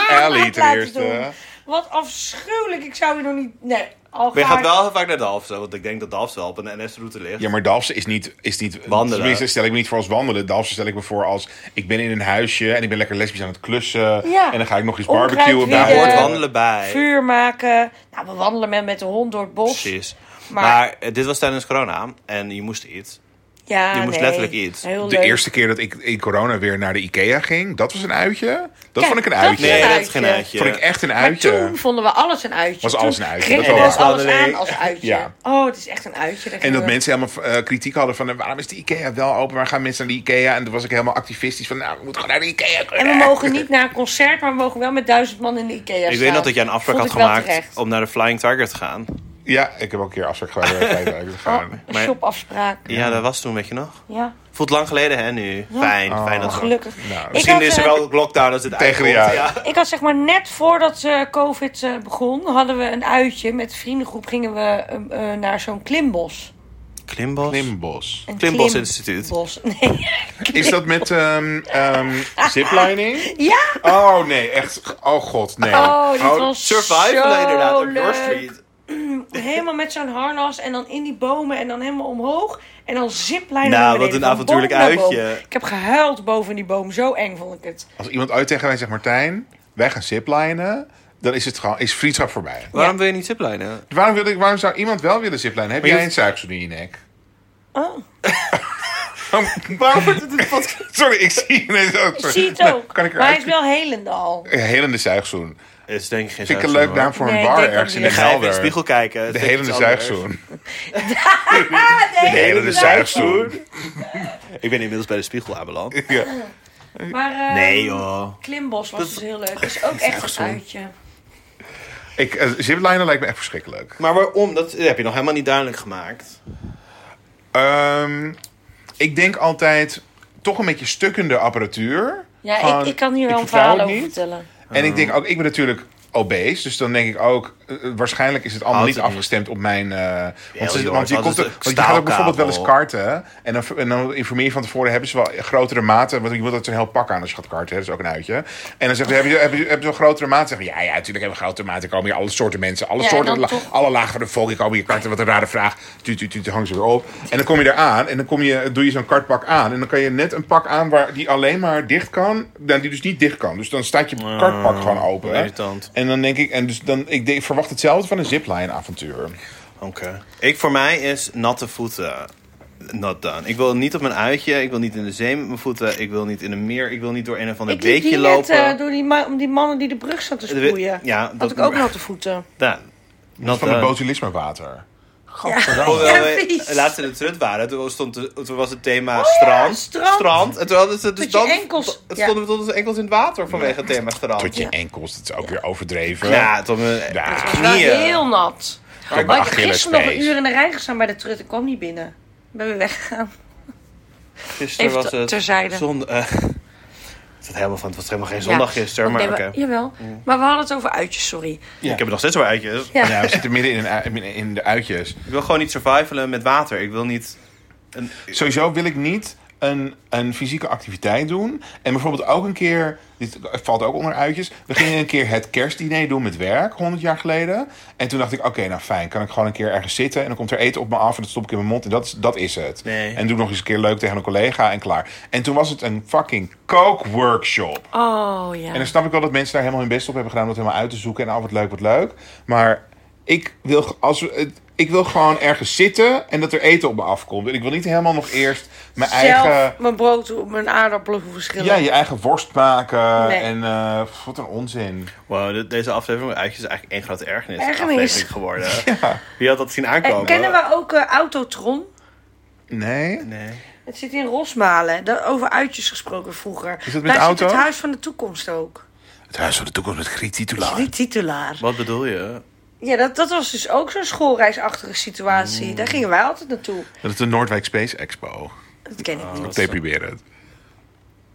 Ellie
Ellie
ten eerste.
Wat afschuwelijk. Ik zou je nog niet... Nee, al
Maar je
ga
gaat
ik-
wel heel vaak naar Dalfsen, want ik denk dat Dalfsen wel op een NS-route ligt.
Ja, maar Dalfsen is niet, is niet...
Wandelen.
Tenminste, stel ik me niet voor als wandelen. Dalfsen stel ik me voor als... Ik ben in een huisje en ik ben lekker lesbisch aan het klussen.
Ja.
En dan ga ik nog eens
Onkruid
barbecuen.
Daar
Ja.
hoort
Eh,
wandelen bij.
Vuur maken. Nou, we wandelen met, met de hond door het bos.
Precies. Maar,
Maar-
eh, dit was tijdens corona en je moest iets.
Ja,
Je moest
nee.
letterlijk iets.
Heel
De
leuk.
eerste keer dat ik in corona weer naar de Ikea ging, dat was een uitje. Dat
Kijk,
vond ik een
dat
uitje.
is
Nee,
een
dat is
uitje.
geen uitje.
vond ik echt een
Maar
uitje.
toen vonden we alles een uitje.
Was
Toen
alles een uitje,
kreeg
dat
je
wel.
dus alles
Wandeling.
aan als uitje.
Ja.
Oh, het is echt een uitje. Daar
En dat
gingen we-
mensen helemaal eh, kritiek hadden van eh, waarom is de Ikea wel open? Waar gaan mensen naar de Ikea? En toen was ik helemaal activistisch van nou, we moeten gewoon naar de Ikea.
En we mogen niet naar een concert, maar we mogen wel met duizend man in de Ikea staan.
Ik weet nog dat jij een afspraak
Vond
had
ik wel
gemaakt
terecht.
om naar de Flying Tiger te gaan.
Ja, ik heb ook een keer afspraak
[LAUGHS]
gedaan.
Oh,
gaan.
een
Maar-
shopafspraak.
Ja, dat was toen, weet je nog?
Ja,
Voelt lang geleden, hè, nu? Fijn, fijn dat we...
gelukkig.
Nou,
Ik
Misschien
had,
is er
eh,
wel lockdown als het
Oh. Tegen de
uitkomt,
jaar.
Ik had zeg maar net voordat eh, COVID eh, begon, hadden we een uitje met de vriendengroep. Gingen we eh, eh, naar zo'n klimbos.
Klimbos?
Klimbos.
Een
Klimbos Instituut.
Klimbos. [LAUGHS] Nee.
Is dat met ehm
[LAUGHS]
ehm ziplining?
ja.
Oh nee, echt. Oh god, nee.
Oh, dit was
Survival
zo
inderdaad, op Your
leuk.
Street.
Helemaal met zo'n harnas en dan in die bomen en dan helemaal omhoog. En dan ziplijnen
Nou,
naar
wat
beneden,
een
van
avontuurlijk
boom naar boom.
uitje.
Ik heb gehuild boven die boom. Zo eng vond ik het.
Als iemand ooit tegen mij zegt, Martijn, wij gaan ziplinen, dan is het gewoon, is vriendschap voorbij.
Waarom wil je niet
[LAUGHS]
ziplinen?
Waarom, wil ik, waarom zou iemand wel willen ziplinen? Heb
Maar je
jij een
hoeft-
suiksel in je nek? Oh,
Oh.
[LAUGHS]
Waarom wordt het een podcast?
Sorry, ik zie ineens ook.
Ik zie het
Nou,
ook.
kan ik
maar hij is
eruit?
wel helend al.
Een helende zuigzoen.
Het [LAUGHS] is denk ik geen
Vind ik een
zuigzoen,
leuk naam
hoor.
voor een
Nee, ik
bar
denk ook
ergens in
niet.
de
Ik ga even in de
helder.
spiegel kijken. Het
De
is denk ik
helende
iets anders.
zuigzoen.
nee,
De helende zuigzoen.
Ik ben inmiddels bij de spiegel aanbeland.
Ja.
Maar eh,
Nee joh.
Klimbos was dus heel leuk. Dat is ook echt een uitje.
Ik, eh, ziplinen lijkt me echt verschrikkelijk.
Maar waarom? Dat heb je nog helemaal niet duidelijk gemaakt.
Ehm, ik denk altijd toch een beetje stukkende apparatuur.
Ja,
Gewoon,
ik, ik kan hier wel een
vertrouw
verhaal
het
over
niet.
vertellen.
En ik denk ook, ik ben natuurlijk obese, dus dan denk ik ook, eh, waarschijnlijk is het allemaal
Altijd
niet
niet.
afgestemd op mijn. eh, want,
joh,
want, je
het
komt
is
er-
een
want je gaat ook bijvoorbeeld wel eens
staalkabel.
karten en dan, en dan informeer je van tevoren, hebben ze wel grotere maten, want je wilt dat zo'n heel pak aan als je gaat karten, hè, dat is ook een uitje. En dan zeggen ze, hebben ze heb je, heb je zo'n grotere maat? Zeggen ja, ja, natuurlijk hebben we grotere maten, er komen hier alle soorten mensen, alle
Ja, en
soorten,
dan
la-
toch-
alle lagen van de volk, ik komen hier karten, wat een rare vraag, tu, tu, tu, tu, hang ze weer op. En dan kom je eraan en dan kom je, doe je zo'n kartpak aan en dan kan je net een pak aan waar die alleen maar dicht kan, nou, die dus niet dicht kan. Dus dan staat je kartpak gewoon open. hè.
irritant.
En dan denk ik, en dus dan, ik, denk, ik verwacht hetzelfde van een zipline avontuur.
Oké. Ik voor mij is natte voeten. not done. Ik wil niet op mijn uitje, ik wil niet in de zee met mijn voeten, ik wil niet in een meer, ik wil niet door een of ander
Ik liep
beekje
hier
lopen.
net eh, door die, ma- om die mannen die de brug zaten te
De-
sproeien.
ja,
Had
dat-
ik ook nog te voeten.
Nou, not
van het
done.
botulismewater.
Hoewel
[LAUGHS]
eh,
Ja,
we
precies. Oh
laatst in de trut waren, toen, stond, toen was het thema strand,
strand.
En toen hadden ze dus
Tot je
dan,
enkels.
het
Ja.
stonden we tot onze enkels in het water vanwege het thema strand.
Tot je enkels, dat is ook weer overdreven.
Ja, tot mijn
Ja.
eh,
Het
Het was wel
knieën.
heel nat.
Tot
Maar
mijn
ik heb gisteren nog een
Achillespees.
uur in de rij gestaan bij de trut. Ik kwam niet binnen. Ik ben weer weggegaan.
Gisteren
Even
was
te-
het
terzijde.
zon, [LAUGHS] eh, het was helemaal van, het was helemaal geen zondag gisteren,
Ja.
maar
Nee,
oké.
Jawel, maar we hadden het over uitjes, sorry.
Ik heb er nog steeds wel uitjes.
Ja.
Ja, we zitten midden in, een ui- in- in de uitjes.
Ik wil gewoon niet survivalen met water. Ik wil niet... Een,
Sowieso wil ik niet een, een fysieke activiteit doen. En bijvoorbeeld ook een keer, dit valt ook onder uitjes. We gingen een keer het kerstdiner doen met werk, 100 jaar geleden. En toen dacht ik, oké, nou fijn, kan ik gewoon een keer ergens zitten. En dan komt er eten op me af en dat stop ik in mijn mond. En dat is, dat is het.
Nee.
En doe nog eens een keer leuk tegen een collega en klaar. En toen was het een fucking kookworkshop.
Oh ja.
En dan snap ik wel dat mensen daar helemaal hun best op hebben gedaan om dat helemaal uit te zoeken. En al wat leuk, wat leuk. Maar ik wil, ge- als, we- het- ik wil gewoon ergens zitten en dat er eten op me afkomt. En ik wil niet helemaal nog eerst mijn
Zelf
eigen...
mijn brood, mijn aardappelen hoeven schillen.
Ja, je eigen worst maken.
Nee.
En eh, pff, wat een onzin.
wow, de- deze aflevering met uitjes is eigenlijk één grote ergernis.
Ergernis.
aflevering
[LAUGHS]
geworden. Wie had dat zien aankomen?
en kennen we ook eh, Autotron?
Nee?
Nee.
Het zit in Rosmalen. Daar over uitjes gesproken vroeger.
Is dat met
Daar
auto?
zit het Huis van de Toekomst ook.
Het huis van de toekomst met Griet Titulaar.
Die titulaar.
Wat bedoel je?
Ja, dat, dat was dus ook zo'n schoolreisachtige situatie. Daar gingen wij altijd naartoe.
Dat is de Noordwijk Space Expo.
Dat ken ik niet.
Op probeer het.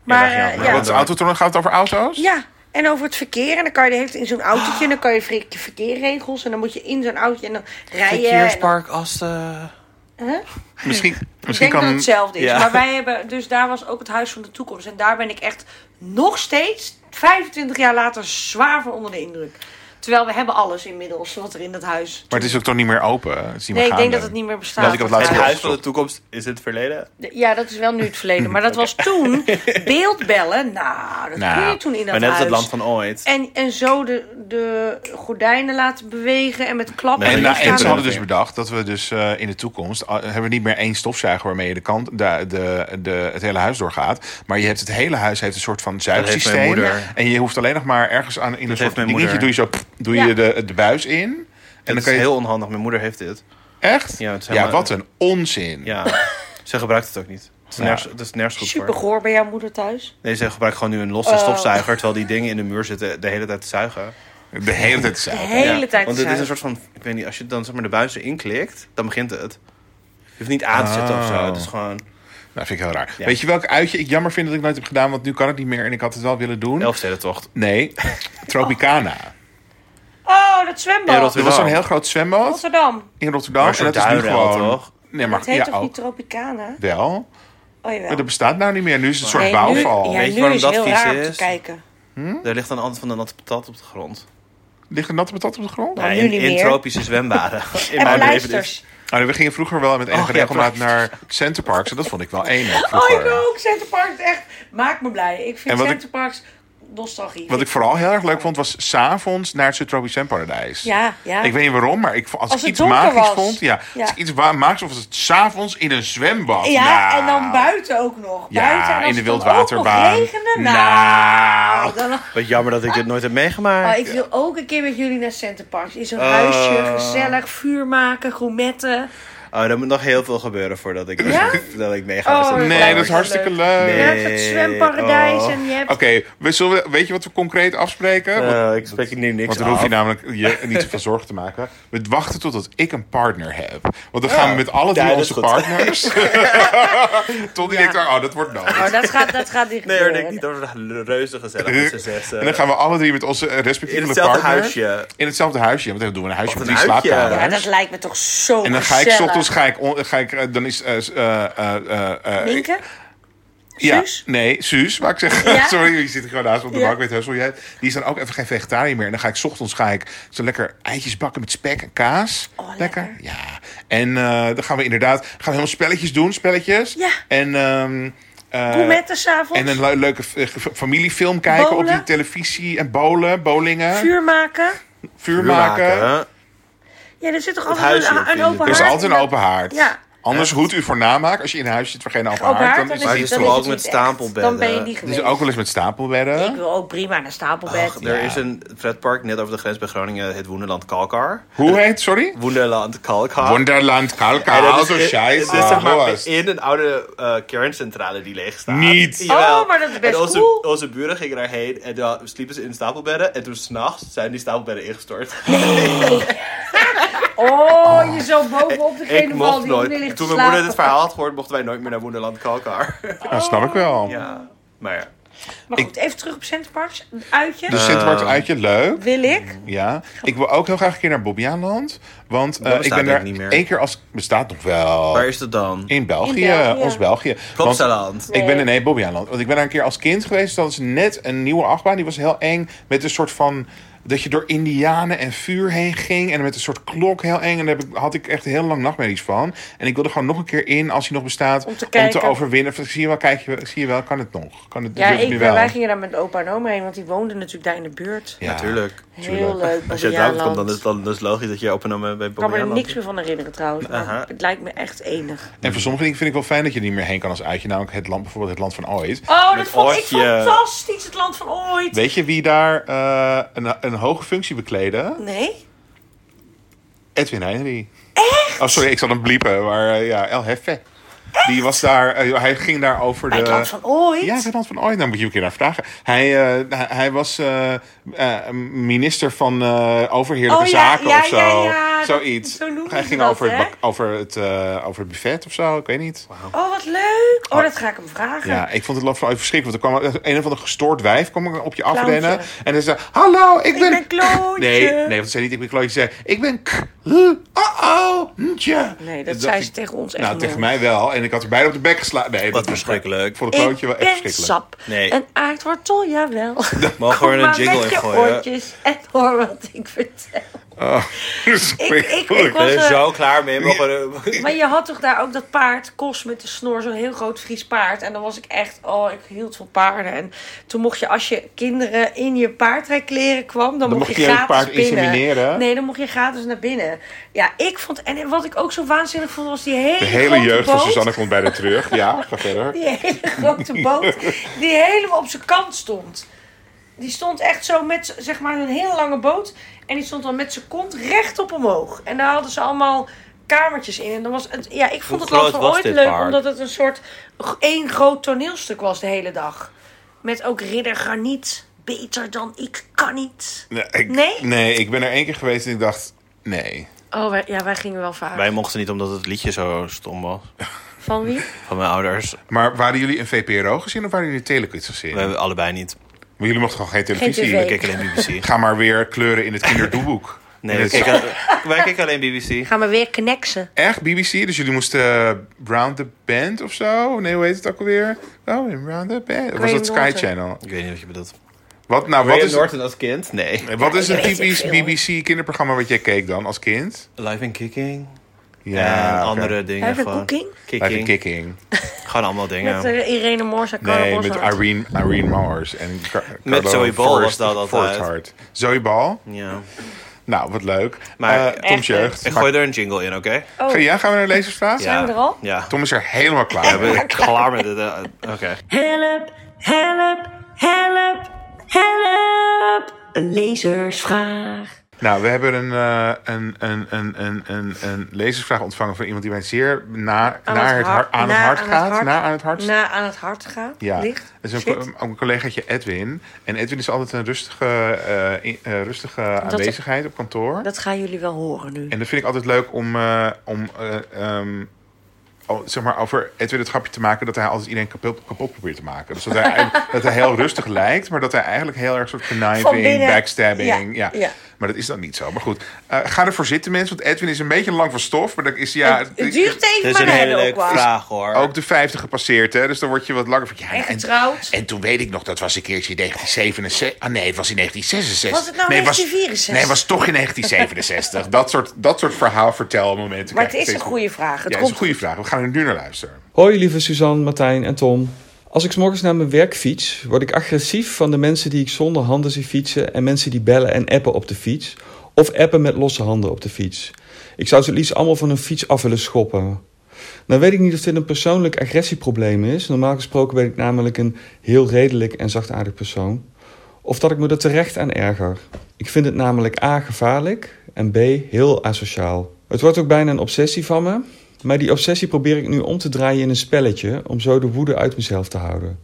Maar
daar gaan we
eh, ja,
Wat is Autotron? Gaat het over auto's?
Ja, en over het verkeer. En dan kan je de hele tijd in zo'n autootje. En dan kan je verkeer- verkeerregels. En dan moet je in zo'n autootje. En dan rijden. en dan-
Asten.
Huh?
Misschien,
Ik
misschien
denk dat
kan...
het hetzelfde is.
Ja.
Maar wij hebben, dus daar was ook het Huis van de Toekomst. En daar ben ik echt nog steeds, 25 jaar later, zwaar van onder de indruk. Terwijl we hebben alles inmiddels wat er in dat huis.
Maar het is ook toch niet meer open? Het is niet
Nee,
meer
ik denk
gaande.
dat het niet meer bestaat.
Dat ik het laatst
Het
Ja.
huis van de toekomst is het verleden.
Ja, dat is wel nu het verleden. Maar dat was toen beeldbellen. Nou, dat
Nou,
kon je toen in dat
maar net als
huis.
het land van ooit.
En, en zo de, de gordijnen laten bewegen en met klappen.
Nee,
En,
dat
nou,
is
en
geen
ze
probleem.
hadden dus bedacht dat we dus eh, in de toekomst... eh, hebben we niet meer één stofzuiger waarmee je de kant, de, de, de, het hele huis doorgaat. Maar je hebt het hele huis heeft een soort van
heeft mijn
zuigsysteem.
moeder.
En je hoeft alleen nog maar ergens aan in een soort
heeft mijn
dingetje...
moeder.
doe je zo pff, doe
Ja.
je de, de buis in. En
En dat
dan kan
is
je...
heel onhandig. Mijn moeder heeft dit.
Echt?
Ja,
Ja,
het is helemaal-
wat een onzin.
[LAUGHS]
Ja. ze gebruikt het ook niet. Het is
Ja.
nergens, het is nergens goed
Super
voor.
goor bij jouw moeder thuis.
Nee, ze gebruikt gewoon nu een losse
Oh.
stofzuiger. Terwijl die dingen in de muur zitten de hele tijd te zuigen.
De hele tijd
De
zuigen.
hele
Ja,
tijd.
Want het is een
zuigen.
soort van, ik weet niet, als je dan zeg maar de buizen inklikt, dan begint het. Je hoeft niet aan te zetten of zo.
Oh.
Het is gewoon
Nou, vind ik heel raar.
Ja.
Weet je welk uitje ik jammer vind dat ik nooit heb gedaan? Want nu kan het niet meer en ik had het wel willen doen.
elfstedentocht. [LAUGHS]
Nee, Tropicana.
Oh, dat
In
zwembad.
Rotterdam.
Er was zo'n heel groot zwembad.
Rotterdam.
in Rotterdam.
Maar
En
zo'n
dat is nu
duinruil,
gewoon.
toch?
Nee, maar
Het heet
ja, oh.
toch
ook
niet Tropicana?
wel.
Oh jawel.
Maar dat bestaat nou niet meer. Nu is het een soort
Nee,
bouwval.
Nu, ja,
Weet je
nu
waarom
is
dat
heel
vies
raar om
is?
te kijken.
Er ligt een hand van een natte patat op de grond.
Ligt een natte patat op de grond?
Ja,
Oh, nu
in,
niet
in
meer.
tropische
[LAUGHS]
zwembaden. in
En
leven
luisters.
Ah, nee, we gingen vroeger wel met enige
ja,
regelmaat
klopt.
naar Center Parks. En dat vond ik wel eng ook
Oh,
vroeger.
ik ook. Center Parks, echt. Maak me blij. Ik vind
En wat
Center Parks nostalgie.
Wat ik vooral heel erg leuk vond, was s'avonds naar het Subtropisch Zwemparadijs.
Ja, ja.
Ik weet niet waarom, maar ik, vond- als,
Als
ik
het
iets
donker
magisch
was.
vond... Ja,
Ja.
Als ik iets wa- magisch vond, was het s'avonds in een zwembad.
ja,
Nou.
en dan buiten ook nog.
Ja,
buiten, en als
in de
het dan
wildwaterbaan.
ook nog regende,
Nou.
nou. Dan,
Wat jammer dat ik dit nooit heb meegemaakt.
oh, ik wil ook een keer met jullie naar Center Parks. In zo'n huisje,
Oh.
gezellig, vuur maken, gourmetten.
Oh, er moet nog heel veel gebeuren voordat ik,
Ja?
[LAUGHS] dat ik meega.
Oh,
Dus-
Nee, dat
Leuk.
is hartstikke leuk.
Je
Nee.
hebt het zwemparadijs
oh.
en je hebt...
Eh, Oké, we zullen- weet je wat we concreet afspreken? Want-
Eh, ik spreek hier nu niks
Want dan hoef je nou?
af.
namelijk je niet zoveel [LAUGHS] zorgen te maken. We wachten totdat ik een partner heb. Want dan gaan we met alle drie
Ja, dat is
onze
goed. [LAUGHS]
partners. Tot die denkt, oh, dat wordt nodig.
Oh, dat gaat, dat gaat niet
[LAUGHS]
Nee hoor,
gebeuren.
denk niet. Dat was reuze eh, gezellig met z'n zessen.
En dan gaan we alle drie met onze
dus in
respectievelijke
hetzelfde
partner...
huisje.
In hetzelfde huisje. Want dan doen we een huisje
Wat
met
een
drie
uitje.
slaapkamers.
Ja, dat lijkt me toch zo
En dan ga ik,
gezellig.
s ochtends ga ik, on- ga ik, eh, dan is, eh eh, eh, eh, eh,
Minken?
Ja,
Suus?
nee, Suus, waar ik zeggen.
Ja?
[LAUGHS] Sorry, je zit er gewoon naast me op de
Ja.
bank met Hussel. Jij, die is dan ook even geen vegetariër meer. En dan ga ik 's ochtends ga ik zo lekker eitjes bakken met spek en kaas.
Oh, lekker.
Ja. En eh, dan gaan we inderdaad gaan we helemaal spelletjes doen, spelletjes.
Ja.
En, ehm eh,
Gourmetten s'avonds?
en een le- leuke eh, ge- familiefilm kijken op
Bowlen.
de televisie. En bowlen, bowlingen. Vuur,
Vuur maken?
maken.
maken.
Ja, er zit toch
Het
altijd
huisje
een,
op
een
vinden.
open haard?
Er is altijd een
in dat-
open haard.
Ja,
Anders roet u voor namaak. Als je in huis zit waar geen open
Op haar,
haard, dan is
Maar
het
het
niet
is
dan
toch
zo.
ook met
niet echt.
stapelbedden?
Dan ben je niet
Het
geweest.
is ook wel eens met
Ik
stapelbedden.
wil ook prima naar stapelbed.
Ach, er is een pretpark net over de grens bij Groningen, het Wonderland Kalkar.
Hoe heet, sorry?
Wonderland Kalkar.
Wonderland Kalka.
En dat
Also
is-
scheiße.
Ah,
Ah,
Het is zeg maar
Horst.
in een oude eh, kerncentrale die leeg staat.
Niet.
Jawel.
Oh, maar dat is best
en onze,
cool.
Onze buren gingen daarheen en dan sliepen ze in stapelbedden. En toen s'nachts zijn die stapelbedden ingestort.
[LAUGHS] Oh, je zo
[LAUGHS]
bovenop degene
Ik
van al
mocht
die onder ligt
nooit.
te
Toen mijn moeder dit
slapen.
verhaal had gehoord, mochten wij nooit meer naar Wonderland
[LAUGHS]
Kalkar.
Ja, snap ik wel.
ja. [LAUGHS] Maar ja.
Maar goed, even terug op Centerparks. Een Uitje.
Dus
Eh.
Sint Martens uitje, leuk.
wil ik.
Ja, ik wil ook heel graag een keer naar Bobbejaanland. Want eh, ik
bestaat
ben
denk
daar
ik niet meer.
één keer als... Bestaat nog wel.
Waar is dat dan?
Oh. In België,
In België.
ons België. Want
Plopsaland.
Ik ben in nee, Bobbejaanland. Want ik ben daar een keer als kind geweest. Dat is net een nieuwe achtbaan. Die was heel eng. Met een soort van... Dat je door indianen en vuur heen ging. En met een soort klok heel eng. En daar heb ik- had ik echt heel lang nachtmerries van. En ik wilde gewoon nog een keer in als hij nog bestaat.
Om te kijken.
overwinnen. Of, Zie je wel, kijk je, wel- zie je wel, kan het nog? Kan het,
Ja,
lukt het nu
ik,
wel?
wij gingen daar met opa en oma heen, want die woonden natuurlijk daar in de buurt.
Ja.
Natuurlijk.
Heel leuk.
Als je het
Bobbejaanland.
daar komt, dan is, dan is het logisch dat je opgenomen bent
Ik
bij
kan me er
Bobbejaanland.
niks meer van herinneren trouwens. Maar
Aha.
Het lijkt me echt enig.
En voor sommige dingen vind ik wel fijn dat je er niet meer heen kan als uitje. Namelijk het land, bijvoorbeeld het land van ooit.
Oh,
Met
dat vond ik
Oortje.
fantastisch. Het land van ooit.
Weet je wie daar eh, een, een hoge functie bekleedde?
Nee?
Edwin Heinry. Echt? Oh, sorry, ik zat hem bliepen. Maar eh, ja, El Heffe. Die was daar, eh, hij ging daar over de...
Bij het land van ooit?
Ja, bij het land van ooit. Dan moet je hem een keer naar vragen. Hij, eh, hij- hij was eh, eh, minister van eh, overheerlijke
Oh, ja,
zaken
ja,
of zo.
ja, ja.
Zoiets.
Zo noemen
hij
ze
ging
dat,
over, het,
hè?
bak- over, het, eh, over het buffet of zo, ik weet niet.
Oh, wat leuk. Oh, dat ga ik hem vragen.
Ja, ik vond het land van ooit verschrikkelijk. Want er kwam een of ander gestoord wijf kwam op je
Clowntje.
afrennen. En hij zei, hallo, ik
Ik
ben...
ben Klootje.
Nee, nee, want ze zei niet ik ben Klootje. Ze zei, ik ben k- huh, oh oh ntje.
Nee, dat
dacht
zei ze
ik-
tegen ons echt
Nou,
nooit.
tegen mij wel. En ik had er bijna op de bek geslagen. Nee,
Wat
dat was
verschrikkelijk.
Ik vond het
Ik
Klootje wel
ben
echt verschrikkelijk.
sap
Nee.
en aardwortel, jawel.
Mogen we er
[LAUGHS] Kom
een
maar
jingle
met
in
je
gooien?
oortjes en hoor wat ik vertel.
Oh, [LAUGHS]
Ik, ik,
Ik
ik
ben
was,
er
eh,
zo klaar mee. Mogen we-
[LAUGHS] maar je had toch daar ook dat paard, Kos met de snor, zo'n heel groot Fries paard. En dan was ik echt, oh, ik hield van paarden. En toen mocht je, als je kinderen in je paardrijkleren kwam, dan, mocht je,
het
gratis
paard
binnen.
insemineren?
Nee, dan mocht je gratis naar binnen. Ja, ik vond, en wat ik ook zo waanzinnig vond, was die hele
De hele
grote
jeugd dus van
boot.
Suzanne komt bijna terug. Ja, ga verder.
Die hele grote boot die helemaal op zijn kant stond. Die stond echt zo met z- zeg maar een hele lange boot. En die stond dan met zijn kont rechtop omhoog. En daar hadden ze allemaal kamertjes in. En dan was het, ja, ik
Hoe
vond het land
groot
van
was
ooit
dit
leuk.
park?
Omdat het een soort g- één groot toneelstuk was de hele dag. Met ook ridder Garniet. Beter dan ik kan niet.
Nee, ik,
Nee?
ik ben er één keer geweest en ik dacht, nee.
Oh, wij- ja, wij gingen wel vaak.
Wij mochten niet omdat het liedje zo stom was.
Van wie?
Van mijn ouders.
Maar waren jullie een VPRO gezien of waren jullie Telekids gezien?
We hebben allebei niet.
Maar jullie mochten gewoon geen televisie.
TV.
We keken alleen BBC.
Ga maar weer kleuren in het
[LAUGHS]
kinderdoeboek.
Nee,
In
we
het-
keken, [LAUGHS] wij keken alleen BBC.
Gaan we weer connecten.
Echt BBC? Dus jullie moesten eh, Round the Band of zo? Nee, hoe heet het ook alweer? Oh, in Round the Band. Of was
Graham
dat Sky
Norton.
Channel?
Ik weet niet wat je bedoelt.
Wat, nou, wat
Graham
is,
Norton als kind? Nee.
wat is
Ja,
een
weet ik
typisch
veel.
BBC kinderprogramma wat jij keek dan als kind?
Live and Kicking. en
oké.
Eh, andere dingen.
Live and
gewoon.
Cooking?
Live and
Kicking.
Kicking.
Gewoon allemaal dingen.
Met eh, Irene Moors en Carla
Nee, met
Boszhart.
Irene, Irene Mars. En Car- Carlo
Zoe Ball was
Forrest-
dat altijd.
Forrest. Zoe Ball?
ja.
Nou, wat leuk.
Maar-
Maar Tom's
Echt leuk.
jeugd.
Ik gooi er een jingle in, oké?
Oh,
Ga- Ja, gaan we naar de lezersvraag?
Ja.
we er al?
Ja.
Tom is er helemaal klaar
We
mee.
zijn klaar met dit. eh, Oké.
Help, help, help, help. Een lezersvraag.
Nou, we hebben een, eh, een, een, een, een, een, een lezersvraag ontvangen van iemand die mij zeer na, naar het, har- aan, het hart gaat. na aan het hart.
Na aan het hart gaat.
ja,
Ligt.
dat is
Shit.
een, co- een collegaatje Edwin. En Edwin is altijd een rustige, eh, in- eh, rustige aanwezigheid op kantoor.
Dat gaan jullie wel horen nu.
En dat vind ik altijd leuk om, eh, om eh, ehm, o- zeg maar over Edwin het grapje te maken dat hij altijd iedereen kapot, kapot probeert te maken. Dus dat
[LAUGHS]
hij, eigenlijk- dat hij heel rustig lijkt, maar dat hij eigenlijk heel erg soort
Van
conniving,
binnen.
backstabbing. Ja,
Ja, ja.
Maar dat is dan niet zo. Maar goed, eh, ga ervoor zitten mensen, want Edwin is een beetje lang van stof. Maar dat is ja,
Het duurt even,
Dit is
maar
een
hij
hele
er ook
leuke
wel.
vraag, hoor.
ook de 50 gepasseerd, hè? Dus dan word je wat langer van. Ja,
En
nou, en-
getrouwd.
en toen weet ik nog, dat was een keertje in 1967. Ah nee, het was in 1966.
Was het nou
nee,
1964?
nee, het was toch in 1967. dat, soort, dat soort verhaalvertelmomenten.
Maar
krijg
het
ik
is een
steeds
goede vraag. Het
ja, is
komt
een goede vraag. We gaan er nu naar luisteren.
Hoi lieve Suzanne, Martijn en Tom. Als ik 's morgens naar mijn werk fiets, word ik agressief van de mensen die ik zonder handen zie fietsen en mensen die bellen en appen op de fiets. Of appen met losse handen op de fiets. Ik zou ze het liefst allemaal van hun fiets af willen schoppen. Nou weet ik niet of dit een persoonlijk agressieprobleem is. Normaal gesproken ben ik namelijk een heel redelijk en zachtaardig persoon. Of dat ik me er terecht aan erger. Ik vind het namelijk A gevaarlijk en B heel asociaal. Het wordt ook bijna een obsessie van me. Maar die obsessie probeer ik nu om te draaien in een spelletje om zo de woede uit mezelf te houden.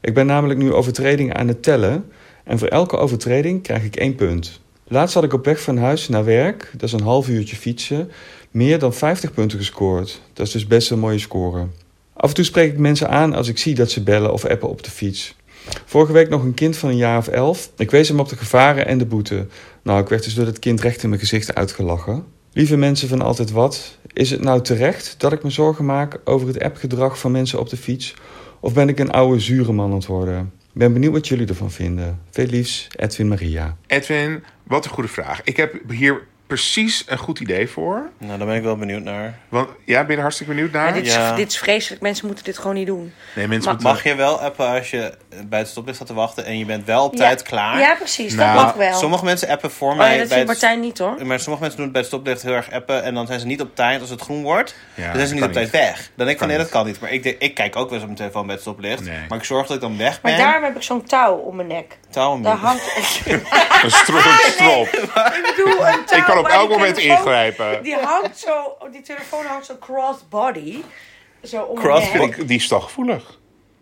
Ik ben namelijk nu overtredingen aan het tellen en voor elke overtreding krijg ik één punt. Laatst had ik op weg van huis naar werk, dat is een half uurtje fietsen, meer dan 50 punten gescoord. Dat is dus best een mooie score. Af en toe spreek ik mensen aan als ik zie dat ze bellen of appen op de fiets. Vorige week nog een kind van een jaar of elf. Ik wees hem op de gevaren en de boete. Nou, ik werd dus door dat kind recht in mijn gezicht uitgelachen. Lieve mensen van Altijd Wat, is het nou terecht dat ik me zorgen maak over het appgedrag van mensen op de fiets? Of ben ik een oude zure man aan het worden? Ik ben benieuwd wat jullie ervan vinden. Veel liefs, Edwin Maria.
Edwin, wat een goede vraag. Ik heb hier precies een goed idee voor.
Nou, daar ben ik wel benieuwd naar.
Want ja, ben je er hartstikke benieuwd naar?
Ja, dit, is,
Ja.
dit is vreselijk. Mensen moeten dit gewoon niet doen.
Nee, mensen
Maar-
moeten...
Mag je wel appen als je bij het stoplicht staat te wachten en je bent wel op tijd
ja.
klaar?
Ja, precies.
Nou,
dat mag wel.
Sommige mensen appen voor
oh, ja,
mij.
dat
bij
vindt
het-
Martijn niet hoor.
Maar sommige mensen doen het bij het stoplicht heel erg appen en dan zijn ze niet op tijd als het groen wordt. dan zijn ze niet
kan
op tijd weg. Dan denk ik van nee, dat kan niet. Maar ik, denk- ik kijk ook wel eens op mijn telefoon bij het stoplicht.
Nee.
Maar ik zorg dat ik dan weg
Maar
ben.
daarom heb ik zo'n touw om mijn nek.
Touw om-
Daar
[LAUGHS]
hangt een
Een strop. een strop.
Ik bedoel, een touw.
Ik kan op
maar die
elk moment
telefoon-
ingrijpen.
Die hangt zo, oh, die telefoon hangt zo crossbody. Zo om
Crossbody.
mijn nek.
Die is toch gevoelig?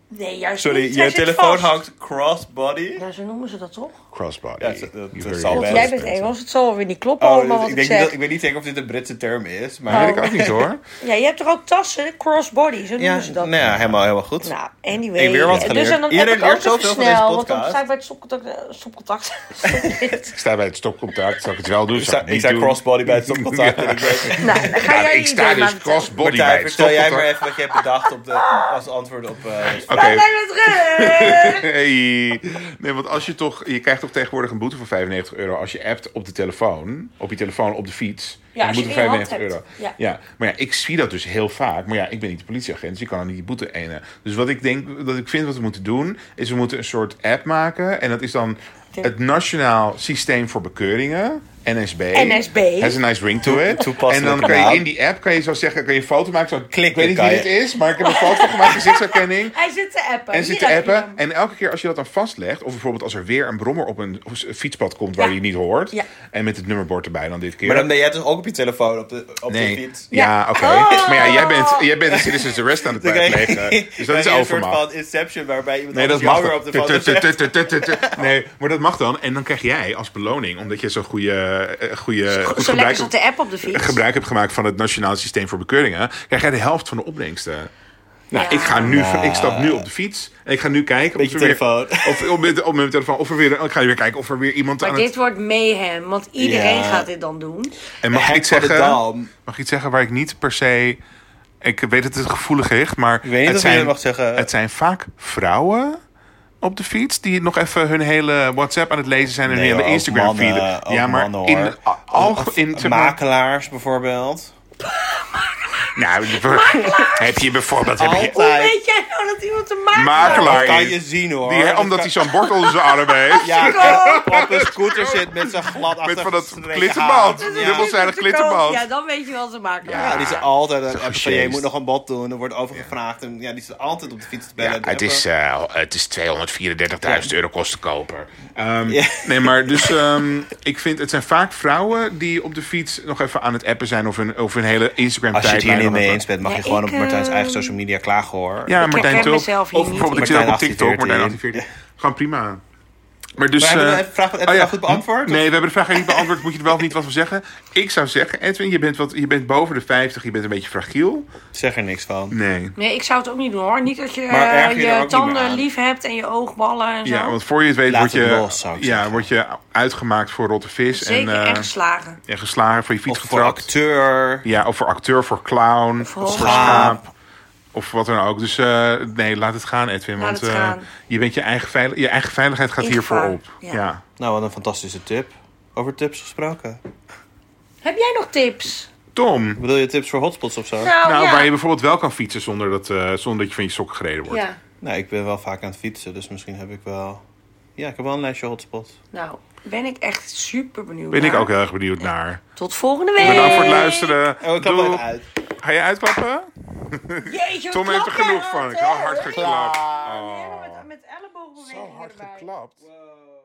Nee, juist
Sorry,
niet.
je
Hij zit
telefoon
vast. Oh,
hangt crossbody.
Ja, zo noemen ze dat toch?
Crossbody.
Ja, dat- dat-
You
dat
very
zal
well.
God,
best.
jij bent Engels, het zal wel weer niet kloppen
Oh,
allemaal wat Oh,
ik,
ik,
denk niet
zeg.
dat- ik weet niet zeker of dit een Britse term is, maar...
Dat weet ik ook niet hoor.
Ja, je hebt toch ook tassen? Crossbody, zo noemen
Ja,
ze dat.
nou ja, helemaal, helemaal goed.
Nou, anyway.
Ik weer wat
Ja,
geleerd.
Dus en dan
Iedereen
heb ik
leert
ook even
zoveel van
snel,
deze
want dan
podcast.
sta ik bij het stopcontact. eh,
[LAUGHS]
stopcontact. [LAUGHS] Stopcontact.
[LAUGHS] Ik sta bij het stopcontact. Zal ik het wel doen?
Ik
Zal
zei,
het niet
ik zei
doen?
crossbody bij het stopcontact.
Ja.
en ik weet-
nou, dan ga
Ja,
jij
ik sta dus crossbody bij
Martijn,
het
vertel jij maar
stopcontact.
even wat je hebt bedacht op de, als antwoord op... [LAUGHS] eh,
Oké.
terug.
[LAUGHS] Hey. Nee, want als je toch... Je krijgt toch tegenwoordig een boete van 95 euro als je appt op de telefoon. Op je telefoon, op de fiets.
Ja,
En
als
die
je
boete
het in je
95 euro.
hand hebt.
Ja, maar ja, ik zie dat dus heel vaak. Maar ja, ik ben niet de politieagent, dus ik kan niet die boete enen. Dus wat ik denk, dat ik vind wat we moeten doen, is we moeten een soort app maken. En dat is dan het Nationaal Systeem voor Bekeuringen. NSB.
NSB.
Has a nice ring to it. En
[LAUGHS] Toepasselijke
dan kan je
naam.
in die app kan je zo zeggen, kan je een foto maken. Zo,
Klikken
ik weet niet
kan
wie
je.
dit is, maar ik heb een
[LAUGHS]
foto gemaakt, gezichtsherkenning.
Hij zit te appen.
En zit
Hier
te
heb je
appen.
hem.
En elke keer als je dat dan vastlegt, of bijvoorbeeld als er weer een brommer op een fietspad komt waar
Ja.
je niet hoort.
Ja.
En met het nummerbord erbij dan dit keer.
Maar dan ben jij dus ook op je telefoon op de, op
nee.
de fiets.
Ja,
Ja.
oké.
Oh.
Maar ja, jij bent, jij bent de Citizens Arrest aan
[LAUGHS]
het
Dan krijg je-
plegen. Dus dat
dan heb
is
je Een
overmacht.
soort van Inception waarbij iemand
Nee, dat
anders
mag
jou weer
dan.
op de
Tut,
foto
tut, [LAUGHS] tut,
zet.
tut, tut, tut, tut. Nee, maar dat mag dan. En dan krijg jij als beloning, omdat je zo'n goede, eh,
Goed,
goede goed
Zo lekker
gebruik,
zat de app op de fiets.
gebruik hebt gemaakt van het Nationaal Systeem voor Bekeuringen, krijg jij de helft van de opbrengsten. Nou,
Ja.
ik, ga nu, ik stap nu op de fiets en ik ga nu kijken
Met
of
je
er weer,
telefoon. [LAUGHS]
of, op, met, op mijn telefoon. Of er weer, ik ga weer kijken of er weer iemand
Maar
aan
dit
het...
wordt mayhem, want iedereen
Ja.
gaat dit dan doen.
En mag ik,
Hek
iets
van de
zeggen,
Dam.
mag ik iets zeggen waar ik niet per se... Ik weet dat het gevoelig is, maar
weet niet
het,
of je
zijn,
dat mag zeggen.
het zijn vaak vrouwen op de fiets die nog even hun hele WhatsApp aan het lezen zijn en
Nee,
hun
hoor,
hele
ook
Instagram
mannen,
feed.
ook
Ja, maar
mannen,
in,
hoor.
al, in zeg maar-
Makelaars bijvoorbeeld.
Nou, [LAUGHS] heb je bijvoorbeeld heb je,
Altijd.
Hoe weet jij nou dat iemand een maak
Dat
makelaar
kan
is.
je zien hoor.
Die,
Dat
omdat hij
kan-
zo'n bord onder zijn arm heeft.
ja, op een scooter zit met zijn glad achter
Met van dat
gestreken
glitterband.
haar.
Dubbel
Ja.
zijn. Dubbelzijdig glitterband.
Ja, dan weet je wel te maken.
Ja, die is altijd aan het appen van,
gescheest.
je moet nog een bod doen. Er wordt overgevraagd. En ja, die zit altijd op de fiets te bellen. en te appen.
eh, het is 234.000 euro kostenkoper. Ehm, Nee, maar
[LAUGHS]
dus ehm, ik vind het zijn vaak vrouwen die op de fiets nog even aan het appen zijn of hun, of hun hele Instagram
Als je het hier
tijdlijn
niet
nog
mee
even-
eens bent, mag
Ja,
je gewoon
ik,
op Martijn's
eh,
eigen social media klagen hoor.
Ja,
Ik
Martijn
herken
Tulp.
mezelf hier
Of
niet.
bijvoorbeeld, ik zit ook op
Martijn
TikTok, Martijn
1814.
1814. Gewoon prima. Maar dus...
Maar hebben we
eh,
de vraag van Edwin
ja.
al goed beantwoord, of?
Nee, we hebben de vraag niet beantwoord. Moet je er wel of niet wat van zeggen? Ik zou zeggen, Edwin, je bent, wat, je bent boven de 50. Je bent een beetje fragiel.
Zeg er niks van.
Nee.
Nee, ik zou het ook niet doen hoor. Niet dat je
Maar erg je
eh,
er ook
je
niet meer
tanden
aan.
lief hebt en je oogballen en zo.
Ja, want voor je het weet
Laat
word
het
je,
los, zou ik
ja,
zeggen.
word je uitgemaakt voor rotte vis.
Zeker
en, eh,
en geslagen.
en geslagen, voor je fiets
Of voor
getrapt.
acteur.
ja, of voor acteur, voor clown, of voor,
schaap.
schaap. Of wat dan ook. Dus eh, nee, laat het gaan, Edwin.
Laat
want
het
eh,
gaan.
je, bent je, eigen veil- je eigen veiligheid gaat
In
hiervoor
gevaar,
op.
ja.
ja.
Nou, wat een fantastische tip. Over tips gesproken.
Heb jij nog tips?
Tom,
Bedoel je tips voor hotspots of zo?
Nou,
nou,
Oh, ja.
waar je bijvoorbeeld wel kan fietsen zonder dat, eh, zonder dat je van je sokken gereden wordt.
ja.
Nou, ik ben wel vaak aan het fietsen, dus misschien heb ik wel... Ja, ik heb wel een lijstje hotspots.
Nou, ben ik echt super benieuwd.
Ben ik
naar.
ook heel erg benieuwd naar.
Tot volgende week.
Bedankt voor het luisteren.
Oh, ik kan
Doei.
wel uit.
Ga je uitklappen?
Jeetje, wat
Tom heeft er
klap jij
genoeg van.
had,
Ik had
hè?
hard geklapt.
Ja,
Oh,
Met, met ellebogenbewegingen
zo hard
erbij.
geklapt.
Wow.